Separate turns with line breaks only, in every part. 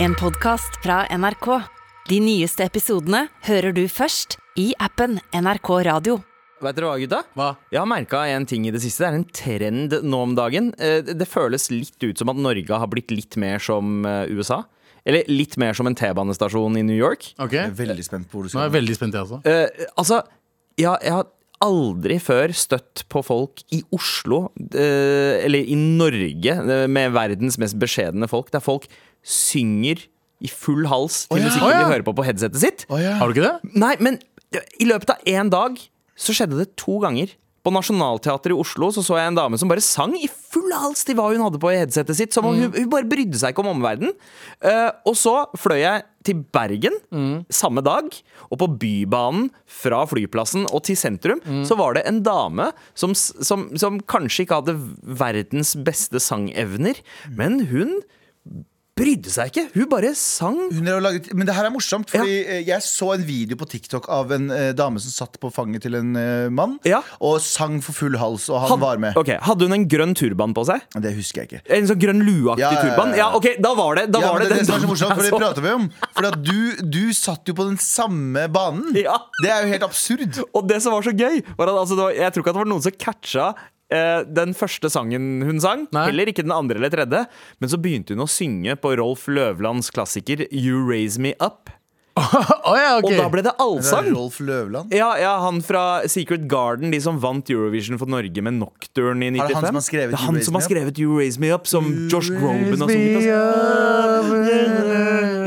En podcast fra NRK. De nyeste episodene hører du først i appen NRK Radio.
Vet dere hva, gutta?
Hva?
Jeg har merka en ting i det siste. Det er en trend nå om dagen. Eh, Det føles litt ut som at Norge har blitt litt mer som eh, USA. Eller litt mer som en T-banestasjon i New York.
Ok,
Jeg er veldig spent på hvor du
nå er
skal.
jeg veldig spent jeg også
Eh, altså, jeg, jeg har aldri før støtt på folk i Oslo, eh, eller i Norge, eh, med verdens mest beskjedne folk, der folk synger i full hals til
Å ja.
musikken
Å ja.
de hører på på headsetet sitt.
Å, ja.
Har du ikke det?
Nei, men i løpet av én dag så skjedde det to ganger. På Nationaltheatret i Oslo så, så jeg en dame som bare sang i full hals til hva hun hadde på i headsetet sitt. Som om hun, hun bare brydde seg ikke om omverdenen. Eh, og så fløy jeg til Bergen samme dag. Og på Bybanen fra flyplassen og til sentrum så var det en dame som, s- som, som kanskje ikke hadde verdens beste sangevner, men hun brydde seg ikke. Hun bare sang
Hun har jo laget, men det her er morsomt, fordi eh, jeg så en video på TikTok av en eh, dame som satt på fanget til en eh, mann
Ja.
og sang for full hals, og han
Had-
var med.
Ok, Hadde hun en grønn turban på seg?
Det husker jeg ikke.
En sånn grønn lueaktig
Ja, ja, ja, ja.
turban? Ja, ok, da var det da
Ja,
var
men
det,
det, er det som er
den
så morsomt,
damen
for
jeg
det
så.
prater vi om. For at du, du satt jo på den samme banen.
Ja.
Det er jo helt absurd.
Og det som var så gøy, var at altså, det var, jeg tror ikke at det var noen som catcha eh, den første sangen hun sang.
Nei.
Heller ikke den andre eller tredje. Men så begynte hun å synge på Rolf Løvlands klassiker 'You Raise Me Up'.
Åja, ok
Og da ble det
Det er
allsang.
Rolf Løvland.
Ja, ja, han fra Secret Garden, de som vant Eurovision for Norge med Nocturne i 95.
Er det han som har skrevet
Det er
You
han
Raise
som
Me
har skrevet You Raise Me
Up?
Up, som Josh Groban sånn. har sunget. altså.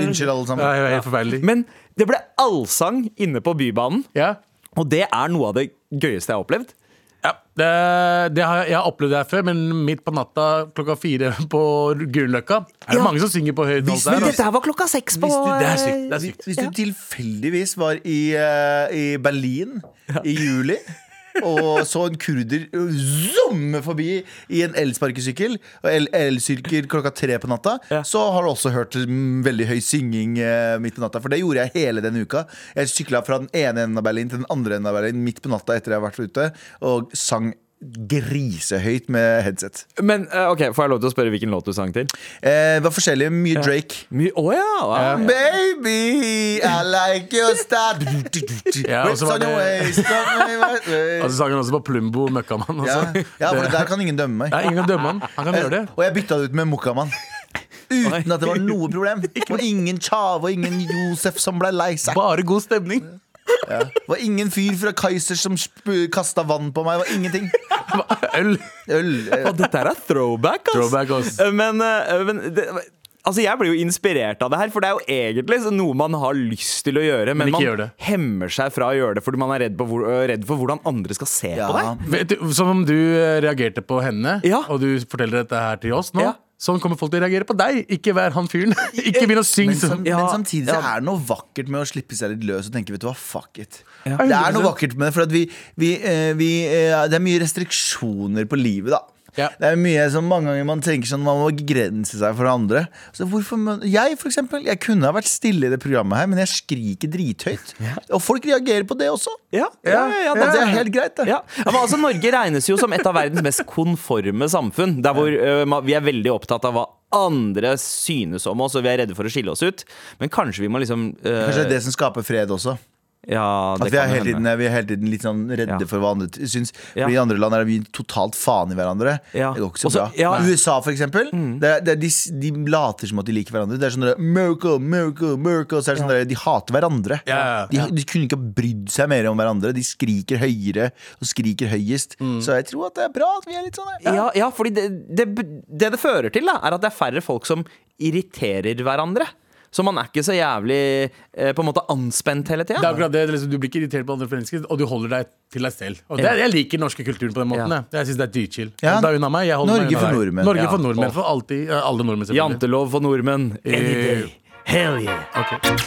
Unnskyld, alle
Ja,
sammen.
jeg er helt forferdelig
Men det ble allsang inne på Bybanen.
Ja,
Og det er noe av det gøyeste jeg har opplevd.
ja. Det, det har jeg, jeg har opplevd det her før Men midt på natta klokka fire på Gulløkka Er det
Ja.
mange som synger på høyt
Hvis
hals der?
vi-
altså?
Dette her var klokka seks på eh,
Hvis du- det er sykt, det er
Hvis,
sykt
hvis du tilfeldigvis var i, eh, i Berlin i juli og så en kurder zoome forbi i en elsparkesykkel og el- elsykkel klokka tre på natta,
Ja.
så har du også hørt mm, veldig høy synging eh, midt på natta. For det gjorde jeg hele den uka. Jeg sykla fra den ene enden av Berlin til den andre enden av Berlin midt på natta etter jeg har vært ute, og sang grisehøyt med headset.
Men eh, ok, får jeg lov til å spørre hvilken låt du sang til?
Eh, det var forskjellig. Mye Drake.
Å ja! ja.
Baby, I like your style
Ja, og så var
Whips on your
det-
waist, on my right way.
Altså sangen også på Plumbo Møkkamann
ja,
altså.
ja, for Eh, der kan ingen dømme meg
Det er ingen å dømme han Han kan gjøre det
Og jeg bytta det ut med Mokkamann Uten at det var noe problem Det var ingen Tjave og ingen Josef som ble lei seg
Bare god stemning
ja. Det var ingen fyr fra Kaiser som sp- kastet vann på meg Det var ingenting
Øl
Øl eh,
Og dette her er throwback, ass.
Throwback, ass.
Eh, Men, eh, men det, altså, jeg blir jo inspirert av det her, for det er jo egentlig så noe man har lyst til å gjøre, men,
ikke
man
gjør det.
hemmer seg fra å gjøre det fordi man er redd, på hvor, eh, redd for hvordan andre skal se
ja.
på deg.
Vet du, Som om du eh, reagerte på henne,
Ja.
og du forteller dette her til oss nå.
Ja.
Sånn kommer folk til å reagere på deg. Ikke vær han fyren. Ikke begynn å synge
Men,
sånn.
sam,
Ja,
men samtidig så
ja.
er det noe vakkert med å slippe seg litt løs og tenke vet du hva, fuck it. Det er noe vakkert med det, for at vi, vi, eh, vi, eh, det er mye restriksjoner på livet, da.
Ja.
Det er mye som mange ganger man tenker sånn man må begrense seg for andre. Så hvorfor, må- jeg for eksempel, jeg kunne ha vært stille i det programmet her, men jeg skriker drithøyt. Og folk reagerer på det også.
Ja, ja, ja, ja,
Det er helt greit, det.
Ja. Ja, men altså, Norge regnes jo som et av verdens mest konforme samfunn. Der hvor ø, ma- vi er veldig opptatt av hva andre synes om oss, og vi er redde for å skille oss ut. Men kanskje vi må liksom ø,
Kanskje det er det som skaper fred også.
Ja, det
At Altså, vi er,
kan
hele
hende.
tiden, vi er hele tiden litt sånn redde
Ja.
for hva andre t- syns.
Ja.
Fordi I andre land er vi totalt faen i hverandre.
Ja.
Det går ikke så
Også-
bra.
ja. Mm.
USA, for eksempel, det er, det er de, s- de later som at de liker hverandre. Det er sånn der, miracle, miracle, miracle Så er det sånn der, De hater hverandre.
Ja, ja,
De, de kunne ikke ha brydd seg mer om hverandre. De skriker høyere og skriker høyest.
Mm.
Så jeg tror at det er bra at vi er litt sånn. her.
Ja, ja fordi det det, det det fører til, da, er at det er færre folk som irriterer hverandre. Så man er ikke så jævlig eh, på en måte anspent hele
Det er
tida.
akkurat det, liksom, Du blir ikke irritert på andre mennesker, og du holder deg til deg selv. Og det, er- Jeg liker den norske kulturen på den måten.
Ja.
jeg. Jeg synes det er dyrchill.
Ja.
Da er unna meg, jeg holder
Norge
meg unna
for
deg.
nordmenn.
Norge
Ja.
for nordmenn.
Åh.
For alltid. eh, Alle nordmenn, selvfølgelig.
Jantelov for nordmenn. Any
Eh,
day. Hell yeah.
Ok.
Ja,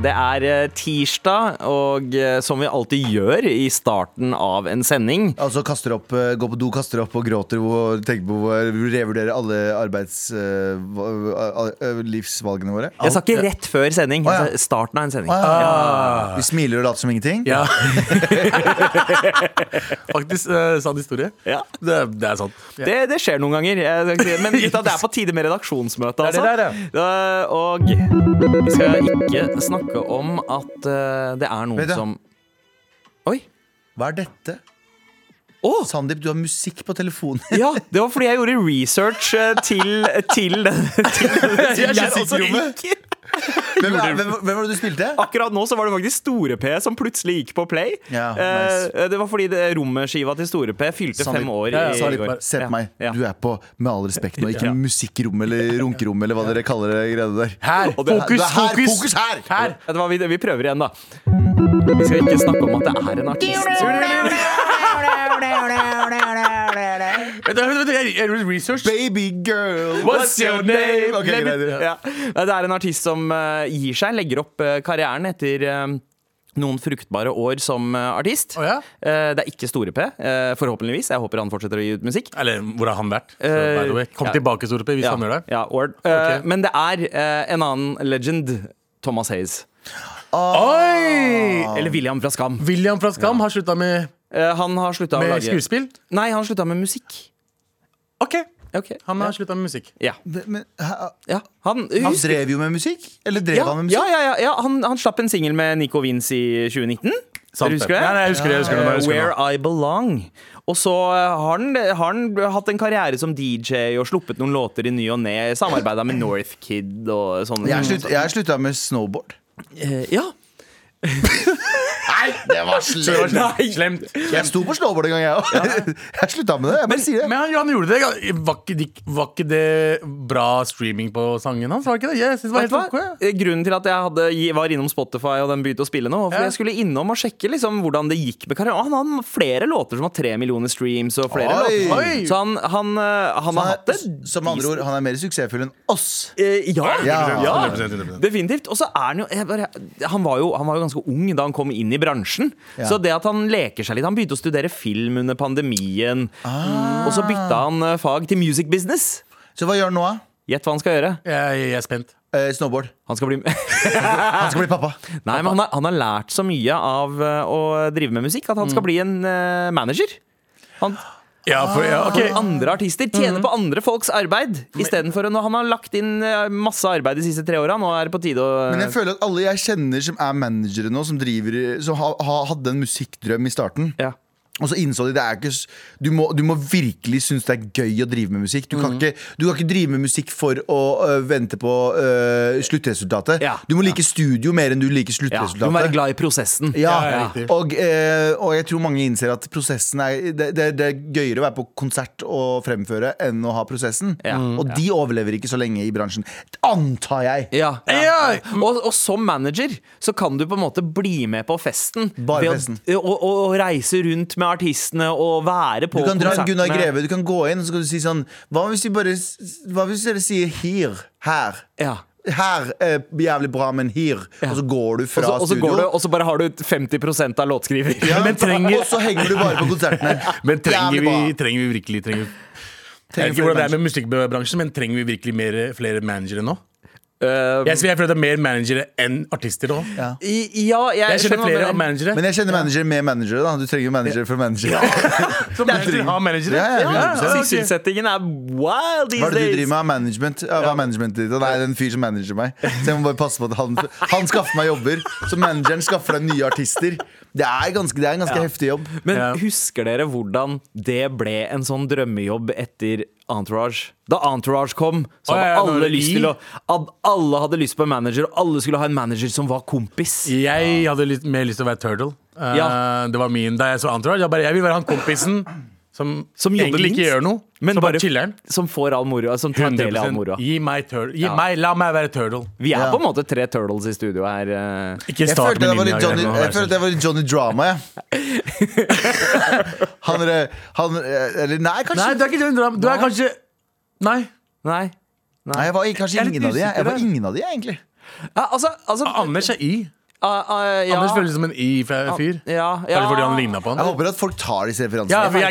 Det er eh, tirsdag, og eh, som vi alltid gjør i starten av en sending
Altså kaster opp, eh, går på do, kaster opp og gråter og tenker på hvor- revurderer alle arbeids... eh, hva- eh, eh, livsvalgene våre.
Jeg sa ikke rett før sending.
Å, ja.
jeg sa Starten av en sending.
Ah, Vi smiler og later som ingenting.
Ja. Faktisk eh, sann historie.
Ja.
Det, det er sant. Ja.
Det, det skjer noen ganger. Jeg skal ikke si det. Men gutta, det er på tide med redaksjonsmøte,
Det er
altså.
det
Eh, Og vi skal ikke snakke om at eh, det er
Vet
noen
du-
som Oi.
Hva er dette?
Å!
Sandeep, du har musikk på telefonen.
Ja, det var fordi jeg gjorde research eh, til, til, til, til
Jeg sitter i rommet.
gikk.
Hvem, er- hvem, hvem var det du spilte?
Akkurat nå så var det faktisk Store-P som plutselig gikk på play.
Ja,
Eh,
nice.
Det var fordi det- rommeskiva til Store-P fylte
Sandeep,
fem år i,
ja,
i
Sandeep,
går.
se på meg.
Ja.
Du er på Med all respekt nå, ikke
Ja.
musikkrom eller runkerom eller hva dere kaller det greiene der.
Her!
Og det er-
det
Fokus,
er her,
fokus!
fokus her!
Vet du hva, vi, vi prøver igjen, da. Vi skal ikke snakke om at det er en artist.
Vent, vent, vent, jeg jeg gjorde research.
Baby girl,
What's your name?
Ok,
Nei,
greit,
men-
ja.
ja. Nei, Det er en artist som eh, gir seg, legger opp eh, karrieren etter eh, noen fruktbare år som eh, artist.
Å ja?
Eh, det er ikke Store-P, eh, forhåpentligvis. Jeg håper han fortsetter å gi ut musikk.
Eller hvor har han vært? Så,
Eh,
by the way. Kom
ja.
tilbake, Store P, hvis
Ja,
han gjør det.
ja, word. Eh,
Ok.
Men det er eh, en annen legend. Thomas Hayes.
Oi!
Ah.
Eller William fra Skam.
William fra Skam har slutta med,
Eh, han har slutta å
med
lage
skuespill.
Nei, han slutta med musikk.
OK.
Ok,
Han
ja.
har slutta med musikk.
Ja.
Men, hæ?
ja. Han,
han
husk,
drev jo med musikk. Eller drev
ja,
han med
ja,
musikk?
ja, ja, ja. Han, han slapp en singel med Nico Vince i 2019. Dere husker det?
Nei, nei, jeg husker det. Jeg husker det,
Eh,
jeg husker det.
Where I Belong. Og så eh, har han, har han hatt en karriere som DJ og sluppet noen låter i ny og ne. Samarbeida med Northkid og sånne
Jeg har slutt- Jeg har slutta med snowboard.
Eh, Ja.
Nei, det var slemt!
Nei.
Slemt.
Jeg sto på snowboard en gang, jeg òg. Jeg slutta med det. jeg bare sier det
Men han, han gjorde det. Var ikke, de- var ikke det bra streaming på sangen hans? Var ikke det? Jeg synes det var
Vet du
helt
hva?
ok.
Eh, Grunnen til at jeg hadde, var innom Spotify og den begynte å spille nå, var
Ja.
fordi jeg skulle innom og sjekke liksom, hvordan det gikk med karrieren. Og Han har flere låter som har tre millioner streams. Og flere
Oi.
låter.
Oi.
Så han, han, eh, han har hatt det.
Som- Som med andre ord, han er mer suksessfull enn oss.
Eh, ja.
Ja.
ja.
100%, 100%.
Definitivt. Og så er han jo jeg bare, han, var jo han var jo ganske ung da han kom inn i bransjen. Så det at han leker seg litt Han begynte å studere film under pandemien.
Ah.
Og så bytta han eh, fag til music business.
Så hva gjør han nå, da?
Gjett hva han skal gjøre.
Jeg, jeg er spent.
Eh, snowboard.
Han skal bli Nei,
Han skal bli pappa.
men han har, han har lært så mye av eh, å drive med musikk at han
Mm.
skal bli en eh, manager. Han,
Ja, for, ja, ok. Mm.
for andre artister tjener på andre folks arbeid istedenfor når han har lagt inn eh, masse arbeid de siste tre åra. Nå er det på tide å
Men jeg føler at alle jeg kjenner som er managere nå, som, driver, i- som ha, ha, hadde en musikkdrøm i starten
ja.
Og så innså de det er ikke s- Du må, du må virkelig synes det er gøy å drive med musikk. Du kan,
Mm.
ikke, du kan ikke drive med musikk for å øh, vente på øh, sluttresultatet.
Ja.
Du må like studio mer enn du
Ja, du
liker
må være
sluttresultatet.
glad i prosessen.
Ja, ja, riktig.
Og, øh, og jeg tror mange innser at prosessen er det, det, det er gøyere å være på konsert og fremføre enn å ha prosessen.
Ja. Mm.
Og de overlever ikke så lenge i bransjen. Antar jeg!
Ja,
Ja.
Og, og som manager så kan du på en måte bli med på festen.
Bare
ved å-
festen.
Og, og, og reise rundt med artistene og være på
Du kan dra en
konsertene.
Gunnar Greve, du kan gå inn og så kan du si sånn Hva hvis, de bare, s- hva hvis dere sier her? Her.
Ja.
Her er jævlig bra, men her. Og så går du
Og
fra
så, og, så
studio.
går du, og så bare har du 50 av låtskriver.
ja,
Men trenger-
Og så henger du bare på konsertene.
Men trenger
Jævlig bra.
vi, trenger vi virkelig trenger vi, Jeg vet ikke hvordan det er med musikkbransjen, men trenger vi virkelig mer, flere managere nå?
Eh,
Jeg, jeg føler det er mer managere enn artister nå.
Ja.
i- ja, jeg,
Jeg
skjønner
kjenner
hva du
flere
mener.
av managere.
Men jeg kjenner manager med manager. da Du trenger jo manager for manager.
Så managere har managere.
Ja, ja,
Ja, ja,
ja,
ok.
Sysselsettingen er wild these
Hva er det du driver
days.
med av management? Ja, hva er managementet ditt? Og Nei, det er en fyr som manager meg. Så jeg må bare passe på at han, han skaffer meg jobber. Så manageren skaffer deg nye artister. Det er, ganske, det er en ganske heftig jobb.
Men
Ja.
husker dere hvordan det ble en sånn drømmejobb etter Entourage? Da Entourage kom, så
Å,
hadde
ja, ja, når
alle
det-
lyst til å ad- Alle hadde lyst på en manager, og alle skulle ha en manager som var kompis.
Jeg hadde litt mer lyst til å være turtle. Eh,
Ja.
Det var min da jeg så Entourage. Jeg, bare, jeg vil være han kompisen som,
Som jobber
egentlig ikke
minst,
gjør noe.
men
som
bare-
bare chiller'n.
Som får all moroa. Som tar del i all
100
moroa.
Gi meg turtle. Gi
Ja.
meg, la meg være turtle.
Vi er
Ja.
på en måte tre turtles i studio her. eh.
Ikke
Jeg
start med
følte det var
min
litt Johnny,
jeg,
jeg følte det var litt Johnny Drama, jeg. han, er- han Eller nei, kanskje.
Nei, du er ikke Johnny Drama. Du er kanskje Nei.
Nei.
Nei, jeg var i-
Jeg
kanskje
er litt
ingen av de. Jeg, jeg var
usikker der.
ingen av de, jeg, egentlig.
Ja, altså, altså
Anders er i.
ah, ah, ja.
Anders føles som en i-fyr.
ja, ja.
Eller fordi han ligna på
Jeg
han.
håper at folk tar disse
Ja,
referansene.
vi er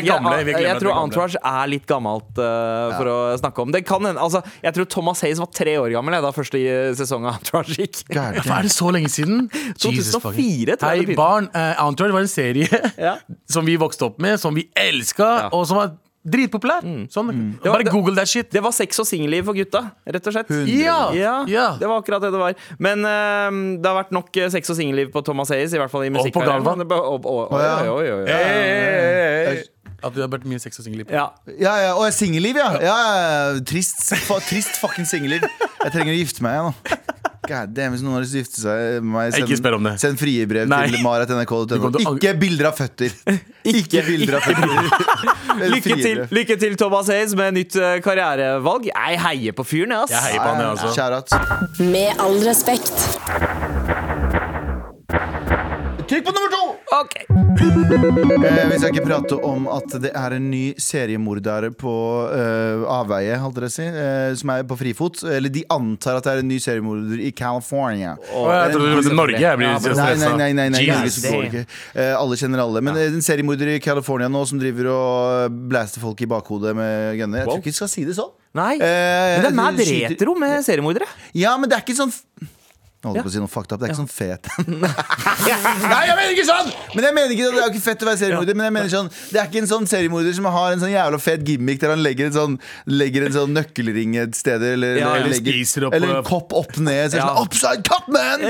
gamle. Vi
jeg,
glemmer at vi
tror
er gamle.
Entourage er litt gammelt eh, for å snakke om. Det kan hende altså, Jeg tror Thomas Hayes var tre år gammel jeg, da første eh, sesong av Entourage gikk.
God
Hva
damn.
er det så lenge siden?
2004 tror jeg det
Hei,
begynte.
barn. eh, Entourage var en serie
Ja.
som vi vokste opp med, som vi elska, og som var dritpopulær. Sånn.
var-
Bare google that shit.
Mm. Det var sex og singelliv for gutta, rett og slett.
Hundre.
Ja!
Ja,
ja.
det var akkurat det det var. Men eh, det har vært nok eh, sex og singelliv på Thomas Hayes, i hvert fall i
på
musikkarrieren.
Galvan.
Men det ba- Og, og, og,
ja.
oi, oi, oi, oi.
Hey, hey, hey, hey.
Jeg-
At det har vært mye sex og singelliv.
Ja.
Ja, ja, og jeg er singelliv, ja. ja. ja, ja. Trist, fa trist fucking singelliv. Jeg trenger å gifte meg igjen nå. God damn, hvis noen har lyst til å gifte seg eh, med meg,
Ikke spør om det.
send frie brev
Nei.
til marat.nrk.no.
Du kommer til å ang-
Ikke bilder av føtter! Ikke bilder av føtter. Eller
Lykke,
frie
til,
brev.
lykke til, Thomas Hayes, med nytt eh, karrierevalg. Jeg heier på fyren, jeg, ass.
Jeg heier på han, jeg, altså.
Shout out.
Med all respekt.
Trykk på nummer to!
Ok.
Eh, vi skal ikke prate om at det er en ny seriemorder på eh, avveie, holdt dere å si, eh, som er på frifot. Eller de antar at det er en ny seriemorder i California.
Å, jeg trodde du mente Norge. Jeg blir så
Nei, nei,
stressa.
nei, nei, nei, Norge
Jesus.
så går det ikke. Eh, alle kjenner alle. Men eh, en seriemorder i California nå som driver og eh, blaster folk i bakhodet med gunner. Jeg tror ikke vi skal si det sånn.
Nei.
Eh,
Men det er mad
skyter-
retro med seriemordere.
Ja, men det er ikke sånn f- jeg holdt på å si noe fucked up. Det er ikke sånn fet. Nei, jeg mener ikke sånn! Men jeg mener ikke Det er jo ikke fett å være seriemorder, men jeg mener sånn det er ikke en sånn seriemorder som har en sånn jævla fet gimmick der han legger en sånn Legger en sånn nøkkelring et sted, eller,
Ja, eller
legger,
spiser opp-
Eller en kopp opp ned. Så er det
Ja.
sånn, Upside cup, man!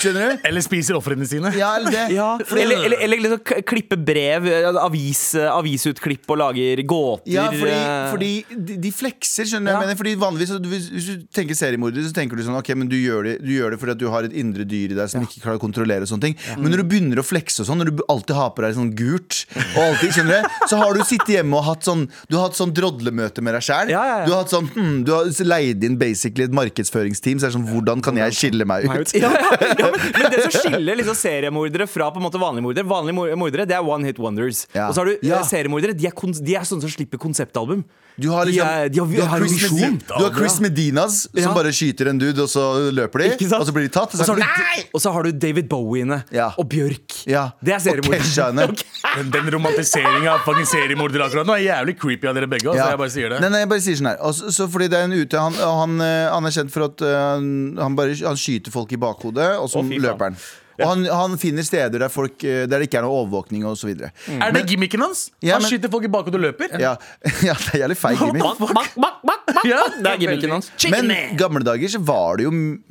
Skjønner du?
Eller spiser ofrene sine.
Ja, eller det. Fordi-
Eller, eller, eller liksom k- klippe brev, eh, avis, eh, avisutklipp og lager gåter.
Ja, fordi,
eh.
fordi de, de flekser, skjønner du
Ja.
hva jeg mener. Fordi vanligvis, så du- hvis, hvis du tenker seriemorder, så tenker du sånn Ok, men du gjør det, du gjør det fordi at du har et indre dyr i deg som ikke klarer å kontrollere og sånne ting. Men når du begynner å flekse og sånn, når du alltid har på deg sånn gult, og alltid, skjønner du, så har du sittet hjemme og hatt sånn Du har hatt sånn drodlemøte med deg sjæl.
Ja, ja, ja.
Du har hatt sånn hmm, Du har leid inn basically et markedsføringsteam, så er det sånn Hvordan kan jeg skille meg ut?
Ja, ja, ja, men, men det som skiller liksom seriemordere fra på en måte vanlige mordere Vanlige mor- mordere, det er one hit wonders.
Ja.
Og så har du eh,
Ja.
seriemordere. De er, kons- de er sånne som slipper konseptalbum.
Du har liksom
De er- de har-
du har
har
Chris,
visjon.
Medi- du har Chris Medinas som
Ja.
bare skyter en dude, og så løper de,
Ikke sant?
og så blir de tatt. Og så,
har
er
du,
det sånn, Nei!
og så har du David Bowie inne.
Ja.
Og Bjørk.
Ja.
Det er
Og Keshaene.
seriemordere.
Men den romantiseringa av fucking seriemordere akkurat nå er jævlig creepy av dere begge. Altså,
Ja.
jeg bare sier det
Nei, nei, jeg bare sier sånn her altså, så Fordi det er en ute Han, og han, eh, han er kjent for at eh, han, han, bare, han skyter folk i bakhodet Og så
Å, fy faen.
løper han Og han, han finner steder der, folk, eh, der det ikke er noe overvåkning og så videre
Er det gimmicken hans?
Ja,
han
men-
skyter folk i bakhodet og løper?
ja, ja, det er jævlig feig gimmick
Bak, bak, bak, bak.
Ja,
Det er gimmicken hans.
Men gamle dager så var det jo m-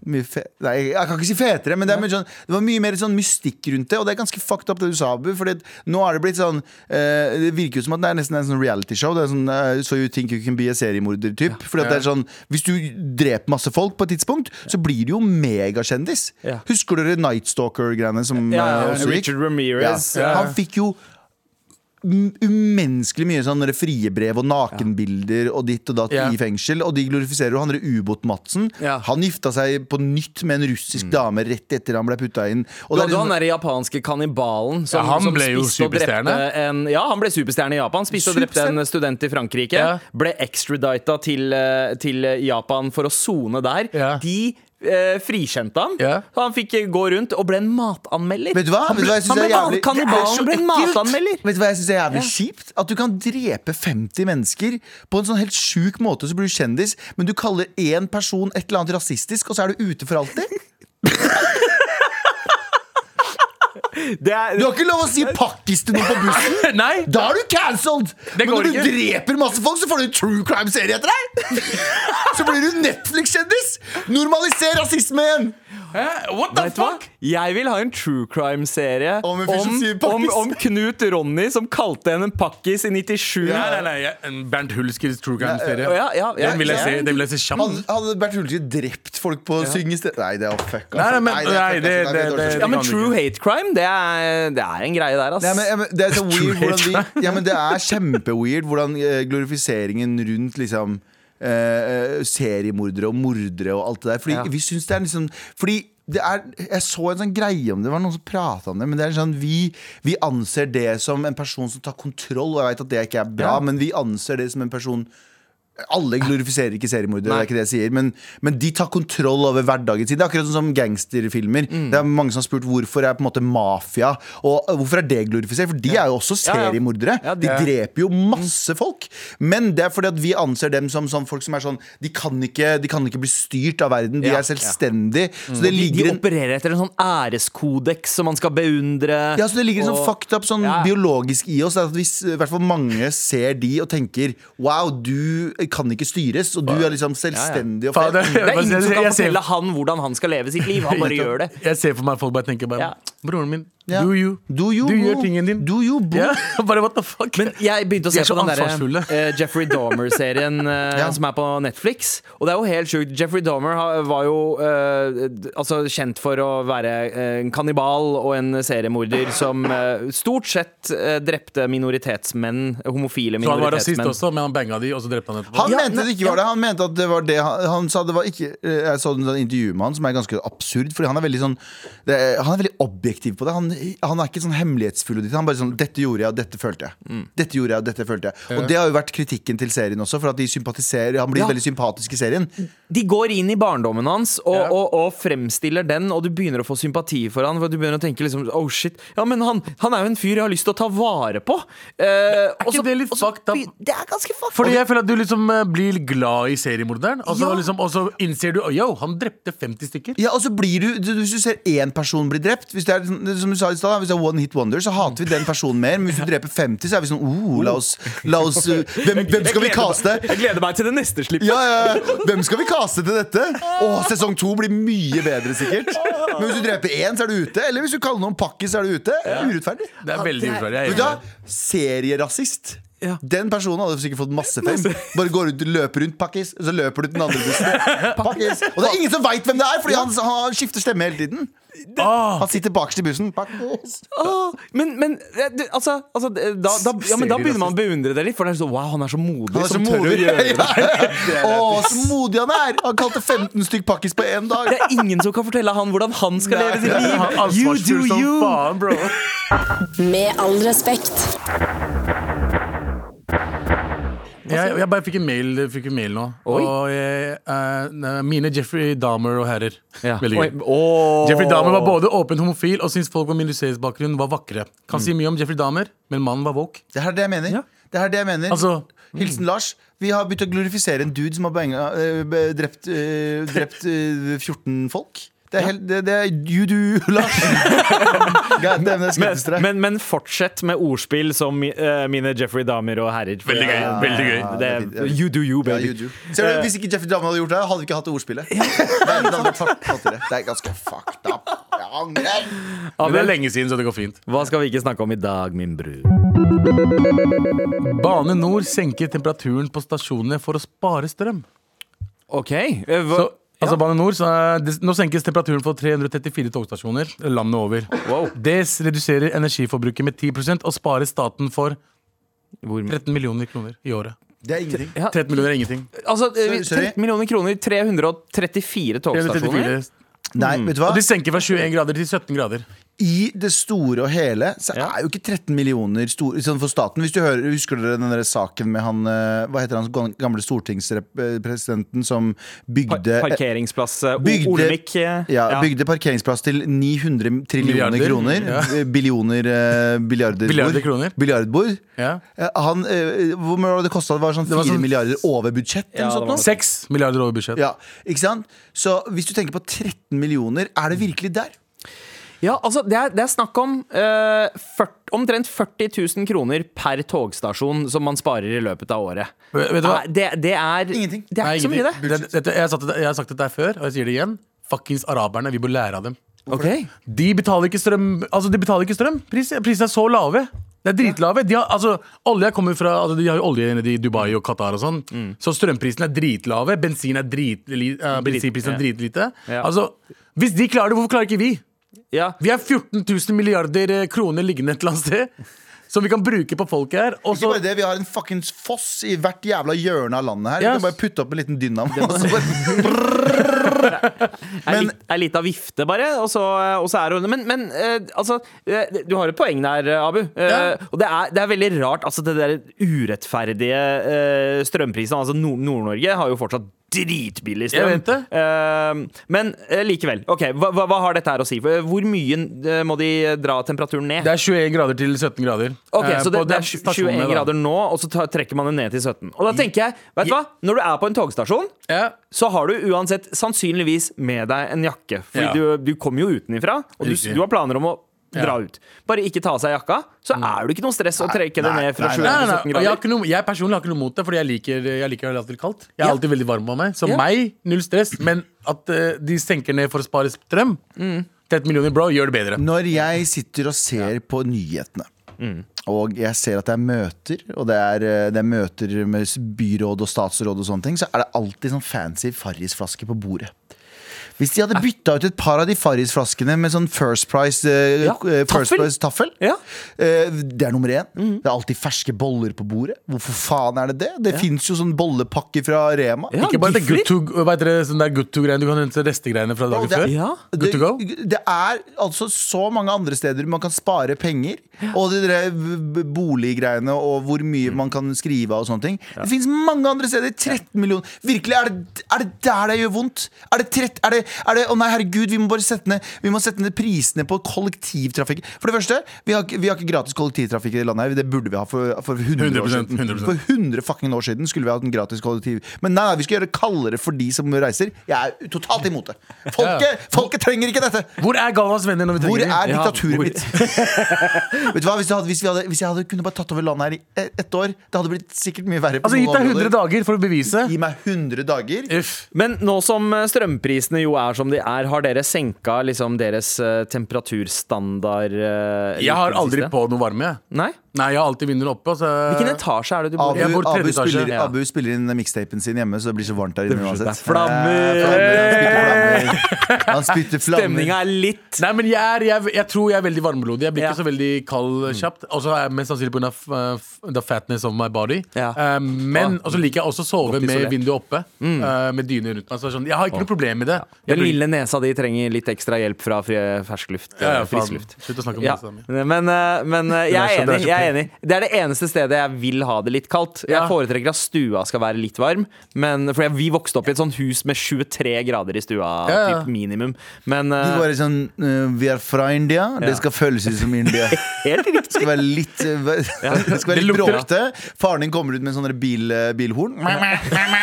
mye fe Nei, jeg kan ikke si fetere, men det, er mye sånn, det var mye mer sånn mystikk rundt det. Og det er ganske fucked up, det du sa, Abu. For nå er det blitt sånn eh, Det virker jo som at det er nesten en sånn realityshow. Det er sånn eh, So you think you can be a seriemorder-type. Fordi at det er sånn Hvis du dreper masse folk på et tidspunkt, så blir du jo megakjendis.
Ja.
Husker dere Night Stalker-greiene som
Ja, ja,
eh,
ja.
også gikk?
Richard Ramirez.
Ja. Han fikk jo m- umenneskelig mye sånn friebrev og nakenbilder og ditt og datt
Ja.
i fengsel. Og de glorifiserer jo han derre ubåt-Madsen.
Ja.
Han gifta seg på nytt med en russisk dame rett etter han ble putta inn. Og
Du
det er
hadde jo
liksom-
han derre japanske kannibalen som,
Ja, han
som
ble jo
spiste og
superstjerne.
drepte En, ja, han ble superstjerne i Japan. Spiste og drepte en
Superstjerne?
student i Frankrike.
Ja.
Ble extradita til, eh, til Japan for å sone der.
Ja.
De eh, frikjente han.
Ja.
Så Han fikk eh, gå rundt og ble en matanmelder.
Vet du hva?
Han
Vet du
ble,
hva jeg synes
han ble
er jævlig-
mat- kannibalen ble en matanmelder.
Vet du hva jeg syns er jævlig kjipt? At du kan drepe 50 mennesker på en sånn helt sjuk måte, så blir du kjendis, men du kaller én person et eller annet rasistisk, og så er du ute for alltid?
Det er,
Du har ikke lov å si pakkis til noen på bussen!
Nei!
Da er du cancelled!
Det
Men
går
når du
ikke.
dreper masse folk, så får du en true crime-serie etter deg! så blir du Netflix-kjendis! Normaliser rasisme igjen!
Hæ? What the
Vet du hva?
fuck?
Jeg vil ha en true crime-serie
Om en fyr som sier pakkis.
om, om Knut Ronny som kalte henne en pakkis i 97.
Nei, nei, nei, jeg- en Bernt Hulskers true crime-serie.
Ja, ja, ja.
Den vil jeg se, den vil jeg se
Hadde,
kjapt.
hadde Bert Hulsker drept folk på å synge i sted? Nei, det er fuck.
Nei, nei, men-
det er
nei, det- det-
fuck, altså. Nei, det er
Ja, men
dårlig.
kan du
true hate crime, det er, det er en greie der, ass.
Nei, men, ja, men det er så
True
weird hvordan
hate
vi Ja, men det er kjempeweird hvordan eh, glorifiseringen rundt liksom eh, eh, seriemordere og mordere og alt det der. Fordi
Ja.
vi syns det er liksom Fordi det er, jeg så en sånn greie om det, det var noen som prata om det. Men det er sånn, vi, vi anser det som en person som tar kontroll, og jeg veit at det ikke er bra, men vi anser det som en person Alle glorifiserer ikke seriemordere, det er ikke det jeg sier. Men, men de tar kontroll over hverdagen sin. Det er akkurat sånn som gangsterfilmer.
Mm.
Det er mange som har spurt hvorfor er på en måte mafia Og øh, hvorfor er det glorifisert? For de er jo også
Ja, ja.
seriemordere.
Ja,
de
det- Mm.
dreper jo masse folk. Men det er fordi at vi anser dem som sånn folk som er sånn De kan ikke, de kan ikke bli styrt av verden. De
Ja, Mm.
er selvstendige. Så
De,
det
de
ligger en
opererer etter en sånn æreskodeks som man skal beundre.
ja, så Det ligger en sånn
og-
fucked up sånn
Ja.
biologisk i oss. At hvis i hvert fall mange ser de og tenker Wow, du kan ikke styres, og du er liksom selvstendig og
Fader.
fet.
Det er ingen som kan
Jeg ser-
fortelle han hvordan han skal leve sitt liv. Han bare gjør det.
Jeg ser for meg folk bare tenker bare
Ja.
Broren min,
Ja.
do you.
Do you,
du gjør
bro.
tingen din.
Do you, bro.
Ja, bare what the fuck.
Men jeg begynte å
De
se
er
på
så
den der,
ansvarsfulle.
eh, Jeffrey Dahmer-serien eh,
Ja.
som er på Netflix. Og det er jo helt sjukt. Jeffrey Dahmer ha- var jo eh, d- altså kjent for å være eh, en kannibal og en seriemorder som eh, stort sett eh, drepte minoritetsmenn, homofile
så han var rasist
minoritetsmenn.
også, men han banga de, og så drepte han etterpå.
Han
Ja,
mente det ikke var det. Han mente at det var det han, han sa det var ikke eh, Jeg så en sånn intervju med han som er ganske absurd, Fordi han er veldig sånn det, er- Han er veldig objektiv på det. Han, han er ikke sånn hemmelighetsfull. og dritt. Han er bare sånn 'Dette gjorde jeg, og dette følte jeg'. Dette gjorde jeg, Og dette følte jeg Og det har jo vært kritikken til serien også, for at de sympatiserer han blir
Ja.
veldig sympatisk i serien.
De går inn i barndommen hans og,
Ja.
og, og fremstiller den, og du begynner å få sympati for han. For du begynner å tenke liksom Oh shit. Ja, men han, han er jo en fyr jeg har lyst til å ta vare på. Eh, og
ikke
så-
det litt
og så
fucked up?
begy- Det er ganske fucked
Fordi
up.
jeg føler at du liksom eh, blir glad i seriemorderen, og så
Ja.
liksom, og så innser du Yo, han drepte 50 stykker.
Ja, og så blir du, du Hvis du ser én person bli drept Hvis det er sånn- som du sa i sted, Hvis det er one hit wonder, så hater vi den personen mer. Men hvis du dreper 50, så er vi sånn oh, la oss, la oss uh, hvem, hvem skal vi
Jeg gleder meg-
kaste?
Jeg gleder meg til det neste slippet.
Ja, ja, ja. Hvem skal vi kaste til dette? Åh, Sesong to blir mye bedre, sikkert. Men hvis du dreper én, så er du ute. Eller hvis du kaller noen pakkis, så er du ute. Urettferdig.
Det er veldig urettferdig. jeg er
Vet du hva?
enig.
Serierasist.
Ja.
Den personen hadde sikkert fått masse fame. Bare går ut, løper rundt pakkis, og så løper du til den andre bussen. Pakkis. Og det er ingen som veit hvem det er, fordi han, han skifter stemme hele tiden.
Åh,
Han sitter bakerst i bussen. Pakkis.
Åh, men, men eh, du, altså, altså eh, da, da, ja, men da begynner man å beundre det litt. For det er sånn, wow, han er så modig.
Han er så
som tør å
modig.
gjøre det.
Å, så modig han er! Han kalte 15 stykk pakkis på én dag.
Det er ingen som kan fortelle han hvordan han skal
Nei.
leve sitt liv.
han er ansvarsfull som faen, bro.
Med all respekt.
Jeg, jeg bare fikk en mail, fikk en mail nå.
Oi.
Og jeg, eh, mine Jeffrey Dahmer og herrer.
Ja.
Veldig gøy.
Oi, åh.
Jeffrey Dahmer var både åpen homofil og syntes folk med minoritetsbakgrunn var vakre. Kan si mye om Jeffrey Dahmer, men mannen var woke.
Det her er det jeg mener.
Ja.
Det her er det jeg mener.
Altså-
Hilsen Lars. Vi har begynt å glorifisere en dude som har banga, eh, be- drept, eh, drept eh, 14 folk. Det er, helt, det, det er you do, Lars. God damn, det
Men,
skrettes til deg.
men, men fortsett med ordspill som eh, mine Jeffrey Dahmer og herrer.
Veldig gøy, veldig gøy.
Det er,
Ja, det er fint, ja.
you do you,
Ja,
baby.
you do. Ser du, Hvis ikke Jeffrey Dahmer hadde gjort det, hadde vi ikke hatt det ordspillet. Det er- det hadde vært fat- fattigere. Det er ganske fucked up. Jeg
Men
angrer.
det er
Abel,
lenge siden, så det går fint.
hva skal vi ikke snakke om i dag, min brud?
Bane Nor senker temperaturen på stasjonene for å spare strøm.
OK. eh, hva,
Så, altså Bane Nor, så er det, Nå senkes temperaturen for 334 togstasjoner landet over.
Wow.
Det s- reduserer energiforbruket med 10 og sparer staten for
hvor,
13 millioner kroner i året.
Det er ingenting.
Ja.
13 millioner er ingenting.
altså, eh,
Sorry, sorry.
13 millioner kroner, 334 togstasjoner.
334.
Nei, vet du hva?
Og de senker fra 21 grader til 17 grader.
I det store og hele så
Ja.
er jo ikke 13 millioner stor, sånn for staten. Hvis du hører, Husker dere den der saken med han eh, Hva heter han gan- gamle stortingspresidenten som bygde
Pa- Parkeringsplass eh, O-
Bygde-
Olemic. eh,
ja, bygde parkeringsplass til 900 trillioner
Milliarder.
kroner.
Ja.
Eh, Billioner eh, billiarder
Billiarder kroner.
Billiardbord.
Ja.
Eh, han, eh, hvor mye var det det kosta? Det var sånn 4
var sånn-
milliarder over budsjett?
Ja,
eller
det
sånt
var noe.
nå?
6 milliarder over budsjett.
Ja, ikke sant? Så hvis du tenker på 13 millioner, er det virkelig der?
Ja, altså det er, det er snakk om eh, 40, omtrent 40 000 kroner per togstasjon som man sparer i løpet av året.
Vet vet du hva?
Nei, Det, det er
Ingenting.
Det er
Nei,
ikke så mye,
ingenting.
det.
Det- dette- jeg, har sagt det, jeg har sagt dette her før, og jeg sier det igjen. Fuckings araberne. Vi bør lære av dem.
Ok.
De betaler ikke strøm. Altså, de betaler ikke strøm. Pris, prisene er så lave. Det er dritlave. De har, altså, olja kommer fra, altså, de har jo olje nede i Dubai og Qatar og sånn.
Mm.
Så strømprisene er dritlave. Bensin er drit, eh, bensinprisen er dritlite.
Ja.
Altså, hvis de klarer det, hvorfor klarer ikke vi?
Ja.
Vi har 14 000 milliarder eh, kroner liggende et eller annet sted. Som vi kan bruke på folk her. Og
Ikke
så
bare det, Vi har en fuckings foss i hvert jævla hjørne av landet her.
Ja.
Du kan bare putte opp en liten dynamo. og så bare
Det er litt- det er litt av vifte, bare. Og så, og så er hun Men, men eh, altså, eh, du har et poeng der, eh, Abu. Eh, Og det er, det er veldig rart, altså det der urettferdige eh, strømprisen. Altså Nord- Nord-Norge har jo fortsatt dritbillig strøm.
Jeg vet det.
Eh, men eh, likevel. Ok, hva, hva, hva har dette her å si? Hvor mye eh, må de dra temperaturen ned?
Det er 21 grader til 17 grader.
Ok,
eh,
Så det,
på
det
de
er tju-
stasjonene,
21
da.
grader nå, og så ta- trekker man det ned til 17. Og da tenker jeg, vet du hva? Når du er på en togstasjon,
Ja.
så har du uansett sannsynligvis med deg en jakke. Fordi
Ja.
du, du kommer jo utenifra, og du,
Riktig.
du har planer om å dra
Ja. Mm.
ut. Bare ikke ta av seg jakka, så er det ikke noe stress å trekke det
nei,
ned fra
nei,
20
Nei, nei,
til
nei.
17
og Jeg, har
grader.
ikke noe, jeg personlig har ikke noe mot det, Fordi jeg liker, jeg liker å ha det kaldt. Jeg er
Ja.
alltid veldig varm av meg. Så
Ja.
meg, null stress. Men at eh, de senker ned for å spare strøm
Mm.
13 millioner, bro, gjør det bedre.
Når jeg sitter og ser på nyhetene Mm. Og jeg ser at det er møter, og det er, eh, det er møter med s- byråd og statsråd og sånne ting, så er det alltid sånn fancy farrisflasker på bordet. Hvis de hadde bytta ut et par av de farrisflaskene med sånn First Price, eh,
Ja,
eh, first
taffel.
price taffel Mm.
Ja.
eh, Det er nummer én. Det er alltid ferske boller på bordet. Hvorfor faen er det det? Det fins jo sånn bollepakke fra Rema.
Ja,
Ikke bare det
gifler.
good to, hva heter det, sånn der good to-greiene. Du kan hente restegreiene fra dagen
det er-
før.
Ja.
Good to go.
Det, det er altså så mange andre steder man kan spare penger. Og de der b- b- boliggreiene og hvor
Mm.
mye man kan skrive av og sånne ting. Det fins mange andre steder. 13 millioner. Virkelig, er det, er det der det gjør vondt? Er det 13 er det, er det, Å nei, herregud, vi må bare sette ned Vi må sette ned prisene på kollektivtrafikk. For det første, vi har, ikke- vi har ikke gratis kollektivtrafikk i det landet her. Det burde vi ha for, for 100, år
100%,
siden.
100%.
For 100 fucking år siden skulle vi hatt en gratis kollektiv. Men nei, nei, vi skal gjøre det kaldere for de som reiser. Jeg er totalt imot det. Folket, folket trenger ikke dette!
Hvor er Galvans venner når vi
Hvor
trenger
er
dem?
diktaturet
hvor-
mitt? Vet du hva, hvis, du hadde, hvis, vi hadde, hvis jeg hadde kunne bare tatt over landet her i e- ett år, det hadde blitt sikkert mye verre. på
Altså, gitt
noen
deg 100
områder.
dager for å bevise.
Gi meg 100 dager.
Uff.
Men nå som eh, strømprisene jo er som de er, har dere senka liksom deres eh, temperaturstandard? eh, litt
Jeg har
i det
aldri
siste?
på noe varme. jeg.
Nei?
Nei, jeg har alltid vinduene oppe. Altså.
Hvilken etasje er det du bor
Abu,
i?
Jeg bor
Abu,
tredje etasje,
spiller,
ja.
Abu spiller inn mixtapen sin hjemme, så det blir så varmt der inne
blir så-
uansett.
det er flammer!
Eh, flammer, Han spytter flammer.
Stemninga er litt
Nei, men jeg, er, jeg, jeg tror jeg er veldig varmblodig. Jeg blir
Ja.
ikke så veldig kald eh, kjapt. Og så er jeg mest sannsynlig pga. Uh, the fatness of my body.
Ja.
Eh, men og så liker jeg også å sove
Godt Mm.
med
isolert.
vinduet oppe. eh, med dyne rundt meg. Så sånn, jeg har ikke noe problem med det. Jeg
Den
blir-
lille nesa di trenger litt ekstra hjelp fra fri, fersk luft.
ja, ja,
eh,
faen.
frisk luft.
Slutt å snakke om
Ja,
nesa mi.
men eh, men eh, jeg er
Den er så- den er
enig.
så
jeg er enig Det er det eneste stedet jeg vil ha det litt kaldt. Jeg
Ja.
foretrekker at stua skal være litt varm. Men, for jeg, vi vokste opp i et sånt hus med 23 grader i stua,
Ja, ja.
typ minimum. Men eh,
De bare sånn eh, Vi er fra India. Det skal føles ut som India.
helt
Det skal være litt, eh, det skal være
Det
litt
lukter-
bråkete. Faren din kommer ut med sånne bil, eh, bilhorn.